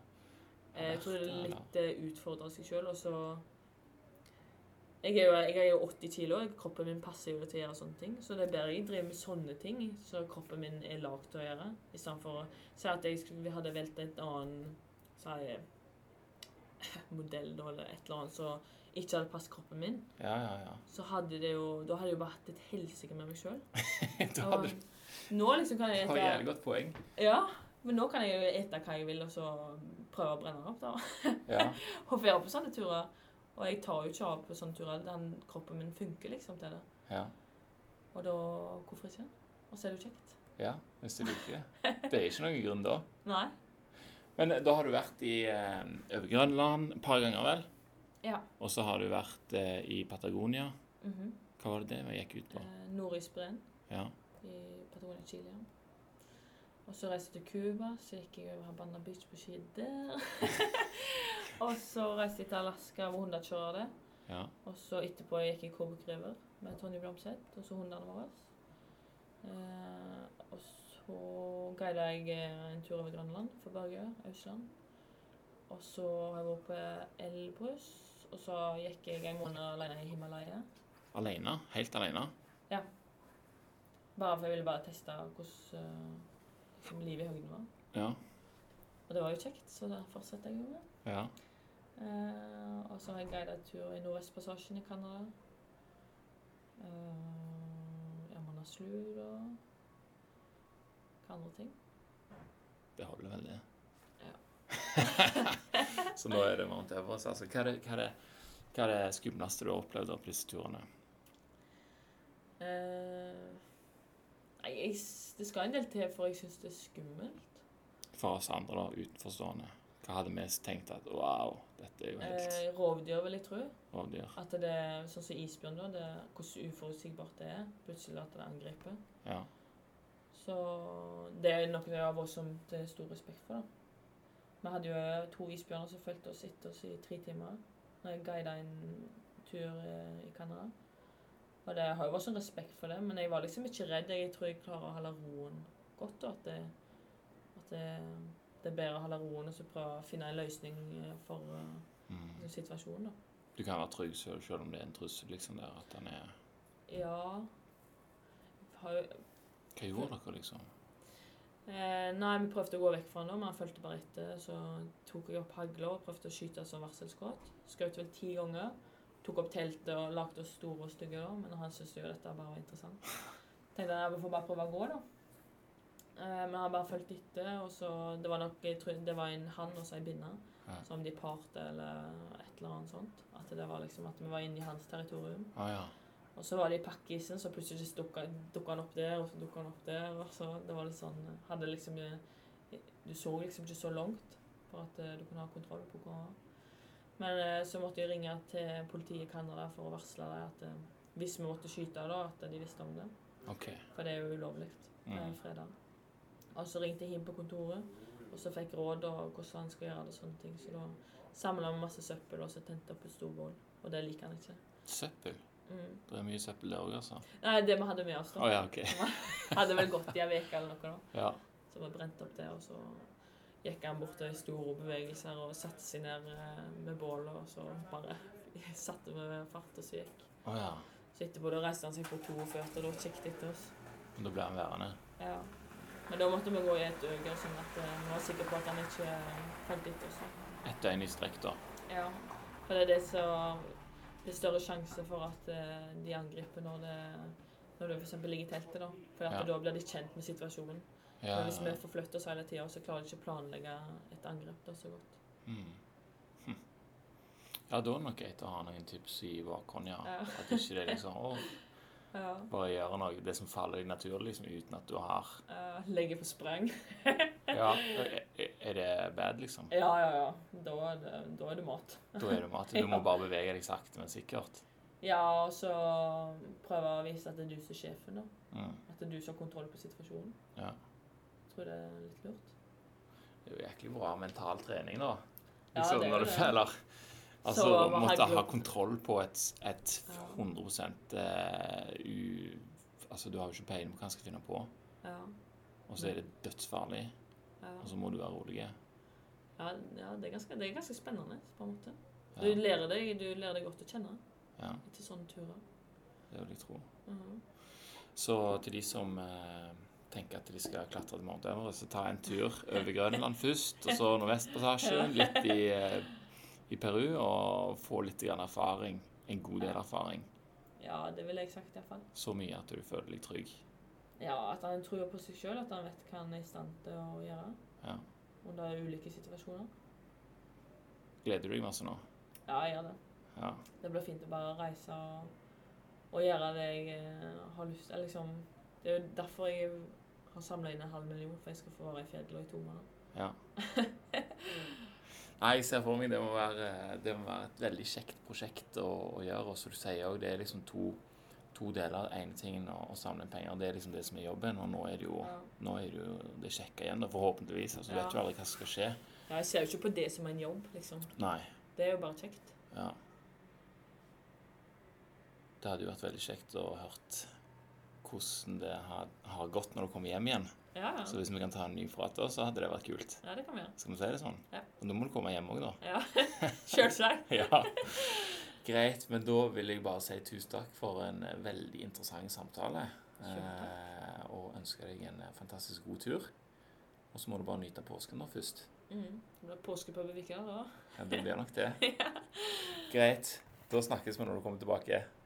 [SPEAKER 2] Jeg tror det er
[SPEAKER 1] Eller?
[SPEAKER 2] litt eh, utfordre seg sjøl, og så jeg er, jo, jeg er jo 80 kilo, og kroppen min passer jo til å gjøre sånne ting. Så det er bedre jeg driver med sånne ting så kroppen min er lagd til å gjøre, istedenfor å si at jeg skulle, hadde valgt et annen si, modell da, eller et eller annet som ikke hadde passet kroppen min.
[SPEAKER 1] Ja, ja, ja.
[SPEAKER 2] Så hadde det jo, da hadde jeg jo bare hatt et helsike med meg sjøl.
[SPEAKER 1] <laughs> Du hadde
[SPEAKER 2] Nå liksom kan
[SPEAKER 1] du
[SPEAKER 2] jeg
[SPEAKER 1] har jævlig
[SPEAKER 2] ete
[SPEAKER 1] godt
[SPEAKER 2] <laughs>
[SPEAKER 1] poeng.
[SPEAKER 2] Ja, men nå kan jeg jo ete hva jeg vil, og så prøve å brenne det opp, da.
[SPEAKER 1] Ja.
[SPEAKER 2] å være på sånne turer. Og jeg tar jo ikke av på sånne turer. Den kroppen min funker liksom til det.
[SPEAKER 1] ja.
[SPEAKER 2] Og da hvorfor ikke? Og så er det jo kjekt.
[SPEAKER 1] Ja, hvis du liker det. Det er ikke noen grunn da.
[SPEAKER 2] Nei.
[SPEAKER 1] Men eh, da har du vært i eh, Øvre-Grønland et par ganger, vel?
[SPEAKER 2] Ja.
[SPEAKER 1] Og så har du vært eh, i Patagonia.
[SPEAKER 2] Mhm.
[SPEAKER 1] Hva var det det vi gikk ut på?
[SPEAKER 2] Eh, Nordisbreen
[SPEAKER 1] Ja.
[SPEAKER 2] i Patagonia, Chile. ja. Og så reiste jeg til Cuba, så gikk jeg over Havana Beach på ski der. <laughs> og så reiste jeg til Alaska hvor hundene kjører det.
[SPEAKER 1] ja.
[SPEAKER 2] Og så etterpå gikk jeg Kobuk River med Tonje Blomseth og så hundene våre. Eh, og så guida jeg eh, en tur over Grønland for Bergø, Ausland. Og så har jeg vært på Elbrus, og så gikk jeg en måned alene i Himalaya.
[SPEAKER 1] Alene? Helt alene?
[SPEAKER 2] Bare for jeg ville bare teste hvordan eh, liksom, livet i høyden var.
[SPEAKER 1] Ja.
[SPEAKER 2] Og det var jo kjekt, så det fortsetter jeg med. det.
[SPEAKER 1] ja.
[SPEAKER 2] Eh, og så har jeg guidet tur i Nordvestpassasjen i Canada. Uh, Amanaslu og hva andre ting.
[SPEAKER 1] Det holder vel, det.
[SPEAKER 2] Ja.
[SPEAKER 1] <laughs> så nå er det Mount Everest. Altså, hva er det, hva er det, hva er det skumleste du har opplevd opp disse turene?
[SPEAKER 2] Eh, nei, jeg, s- det skal en del til for jeg syns det er skummelt.
[SPEAKER 1] For oss andre da, utenforstående. Hva hadde vi tenkt at wow, dette er jo helt
[SPEAKER 2] Eh, rovdyr, vil jeg tro.
[SPEAKER 1] rovdyr.
[SPEAKER 2] At det er sånn som isbjørn, da. Det, er hvordan uforutsigbart det er. Plutselig at det angriper.
[SPEAKER 1] Ja.
[SPEAKER 2] Så det er noe jeg har voldsomt eh, stor respekt for. da. Vi hadde jo to isbjørner som fulgte oss etter oss i tre timer. Når jeg guida en tur eh, i Canada. Og det jeg har jo voldsom respekt for det, men jeg var liksom ikke redd. Jeg tror jeg klarer å holde roen godt. og at det, at det, det er bedre å holde roen og så prøve å finne en løsning eh, for eh,
[SPEAKER 1] Mm.
[SPEAKER 2] situasjonen. da.
[SPEAKER 1] Du kan være trygg selv, selv om det er en trussel, liksom, der at den er
[SPEAKER 2] Ja har jo,
[SPEAKER 1] Hva gjorde dere, liksom?
[SPEAKER 2] Eh, nei, vi prøvde å gå vekk fra han da, men han fulgte bare etter. Så tok jeg opp hagla og prøvde å skyte som varselskudd. Skjøt vel ti ganger. Tok opp teltet og lagde oss store og stygge, da, men han syntes jo dette bare var interessant. Tenkte jeg vi får bare prøve å gå, da. Eh, men han bare fulgte etter, og så Det var nok jeg tror, det var en hann og så ei binne.
[SPEAKER 1] Ja.
[SPEAKER 2] Så om de parte eller et eller annet sånt. At det var liksom at vi var inne i hans territorium.
[SPEAKER 1] Å Ah, ja.
[SPEAKER 2] Og så var det i pakkisen, så plutselig så dukka dukka han opp der, og så dukka han opp der. og så Det var litt sånn hadde liksom, eh, Du så liksom ikke så langt for at eh, du kunne ha kontroll på hva Men eh, så måtte jeg ringe til politiet i Canada for å varsle dem at eh, hvis vi måtte skyte, da, at de visste om det.
[SPEAKER 1] OK.
[SPEAKER 2] For det er jo ulovlig
[SPEAKER 1] Mm.
[SPEAKER 2] med fredag. Og så ringte jeg inn på kontoret, og så fikk råd om hvordan han skulle gjøre det. og sånne ting. Så da samla vi masse søppel og så tente opp et stor bål. Og det liker han ikke.
[SPEAKER 1] Søppel?
[SPEAKER 2] Mm.
[SPEAKER 1] Det er mye søppel der òg, altså?
[SPEAKER 2] Nei, det vi hadde med oss,
[SPEAKER 1] Å
[SPEAKER 2] da.
[SPEAKER 1] ja, OK.
[SPEAKER 2] Hadde vel gått i ei uke eller noe, da.
[SPEAKER 1] Ja.
[SPEAKER 2] Så vi brente opp det, og så gikk han bort til store bevegelser og satte seg ned eh, med bålet, og så bare <laughs> satte vi fart, og så gikk.
[SPEAKER 1] Å ja.
[SPEAKER 2] Så etterpå da reiste han seg på 42, og da kikket etter oss.
[SPEAKER 1] Men Da ble han værende.
[SPEAKER 2] Ja. Men da måtte vi gå i et øye, sånn at eh, vi var sikre på at han ikke fulgte etter oss. da.
[SPEAKER 1] Ett døgn i strekk, da.
[SPEAKER 2] Ja. For det er det som Det er større sjanse for at eh, de angriper når det når du for eksempel ligger i teltet, da. For at
[SPEAKER 1] Ja.
[SPEAKER 2] da blir de kjent med situasjonen.
[SPEAKER 1] Ja.
[SPEAKER 2] Men hvis vi forflytter oss hele tida, så klarer de ikke å planlegge et angrep da så godt.
[SPEAKER 1] Mm. Hm. Ja, da er det nok greit å ha noen tips i bakhånd, ja.
[SPEAKER 2] Ja.
[SPEAKER 1] At ikke det liksom å,
[SPEAKER 2] Ja.
[SPEAKER 1] bare gjøre noe det som faller deg naturlig, liksom, uten at du har
[SPEAKER 2] Eh, legge på spreng.
[SPEAKER 1] Ja, er, er det bad, liksom?
[SPEAKER 2] Ja, ja, ja. Da er det, da er det mat.
[SPEAKER 1] Da er det mat. Du må bare bevege deg sakte, men sikkert.
[SPEAKER 2] Ja, og så prøve å vise at det er du som er sjefen, da.
[SPEAKER 1] Mm.
[SPEAKER 2] At det er du som har kontroll på situasjonen.
[SPEAKER 1] Ja.
[SPEAKER 2] Jeg tror det er litt lurt.
[SPEAKER 1] Det er jo jæklig bra mental trening, da.
[SPEAKER 2] Ja,
[SPEAKER 1] Liksom
[SPEAKER 2] det er
[SPEAKER 1] når
[SPEAKER 2] det.
[SPEAKER 1] du føler Altså
[SPEAKER 2] Så
[SPEAKER 1] å
[SPEAKER 2] må
[SPEAKER 1] måtte
[SPEAKER 2] jeg-
[SPEAKER 1] ha kontroll på et, et
[SPEAKER 2] Ja.
[SPEAKER 1] 100 eh, u, Altså, du har jo ikke peiling på hva han skal finne på,
[SPEAKER 2] Ja,
[SPEAKER 1] og så er det dødsfarlig,
[SPEAKER 2] ja.
[SPEAKER 1] og så må du være rolig.
[SPEAKER 2] ja, ja det, er ganske, det er ganske spennende, på en måte. Du
[SPEAKER 1] Ja.
[SPEAKER 2] lærer deg, du lærer deg godt å kjenne
[SPEAKER 1] Ja.
[SPEAKER 2] etter sånne turer.
[SPEAKER 1] Det vil jeg tro.
[SPEAKER 2] Mhm.
[SPEAKER 1] Så til de som eh, tenker at de skal klatre til Mount Everest, så ta en tur over Grønland først, og så Nordvestpassasjen, litt i, eh, i Peru, og få litt grann erfaring. En god del erfaring.
[SPEAKER 2] Ja, det ville jeg sagt iallfall.
[SPEAKER 1] Så mye at du føler deg trygg.
[SPEAKER 2] Ja, at han tror på seg sjøl, at han vet hva han er i stand til å gjøre
[SPEAKER 1] Ja.
[SPEAKER 2] under ulike situasjoner.
[SPEAKER 1] Gleder du deg masse nå?
[SPEAKER 2] Ja, jeg gjør det.
[SPEAKER 1] Ja.
[SPEAKER 2] Det blir fint å bare reise og, og gjøre det jeg eh, har lyst til. Liksom, det er jo derfor jeg har samla inn en halv million, for jeg skal få være i fjellet i to måneder.
[SPEAKER 1] ja. Nei, jeg ser for meg det må være, det må være et veldig kjekt prosjekt å, å gjøre. Og som du sier òg, det er liksom to, to deler. Den ene tingen å, å samle inn penger, det er liksom det som er jobben. Og nå er det jo,
[SPEAKER 2] Ja.
[SPEAKER 1] nå er det, jo det kjekke igjen, da, forhåpentligvis. Altså, Du
[SPEAKER 2] Ja.
[SPEAKER 1] vet jo aldri hva som skal skje.
[SPEAKER 2] Ja, jeg ser jo ikke på det som en jobb, liksom.
[SPEAKER 1] Nei.
[SPEAKER 2] Det er jo bare kjekt.
[SPEAKER 1] Ja. Det hadde jo vært veldig kjekt å hørt hvordan det har, har gått når du kommer hjem igjen.
[SPEAKER 2] Ja, ja.
[SPEAKER 1] Så hvis vi kan ta en ny prat da, så hadde det vært kult.
[SPEAKER 2] ja det kan vi gjøre.
[SPEAKER 1] Skal vi si det sånn?
[SPEAKER 2] Ja.
[SPEAKER 1] Og nå må du komme hjem òg, da.
[SPEAKER 2] Ja. Selvsagt.
[SPEAKER 1] Ja. <laughs> Greit, men da vil jeg bare si tusen takk for en eh, veldig interessant samtale. Eh, og ønsker deg en eh, fantastisk god tur. Og så må du bare nyte påsken nå først.
[SPEAKER 2] Mm. Det blir påske på Bevikar da.
[SPEAKER 1] Ja, det blir nok det. Greit. Da snakkes vi når du kommer tilbake.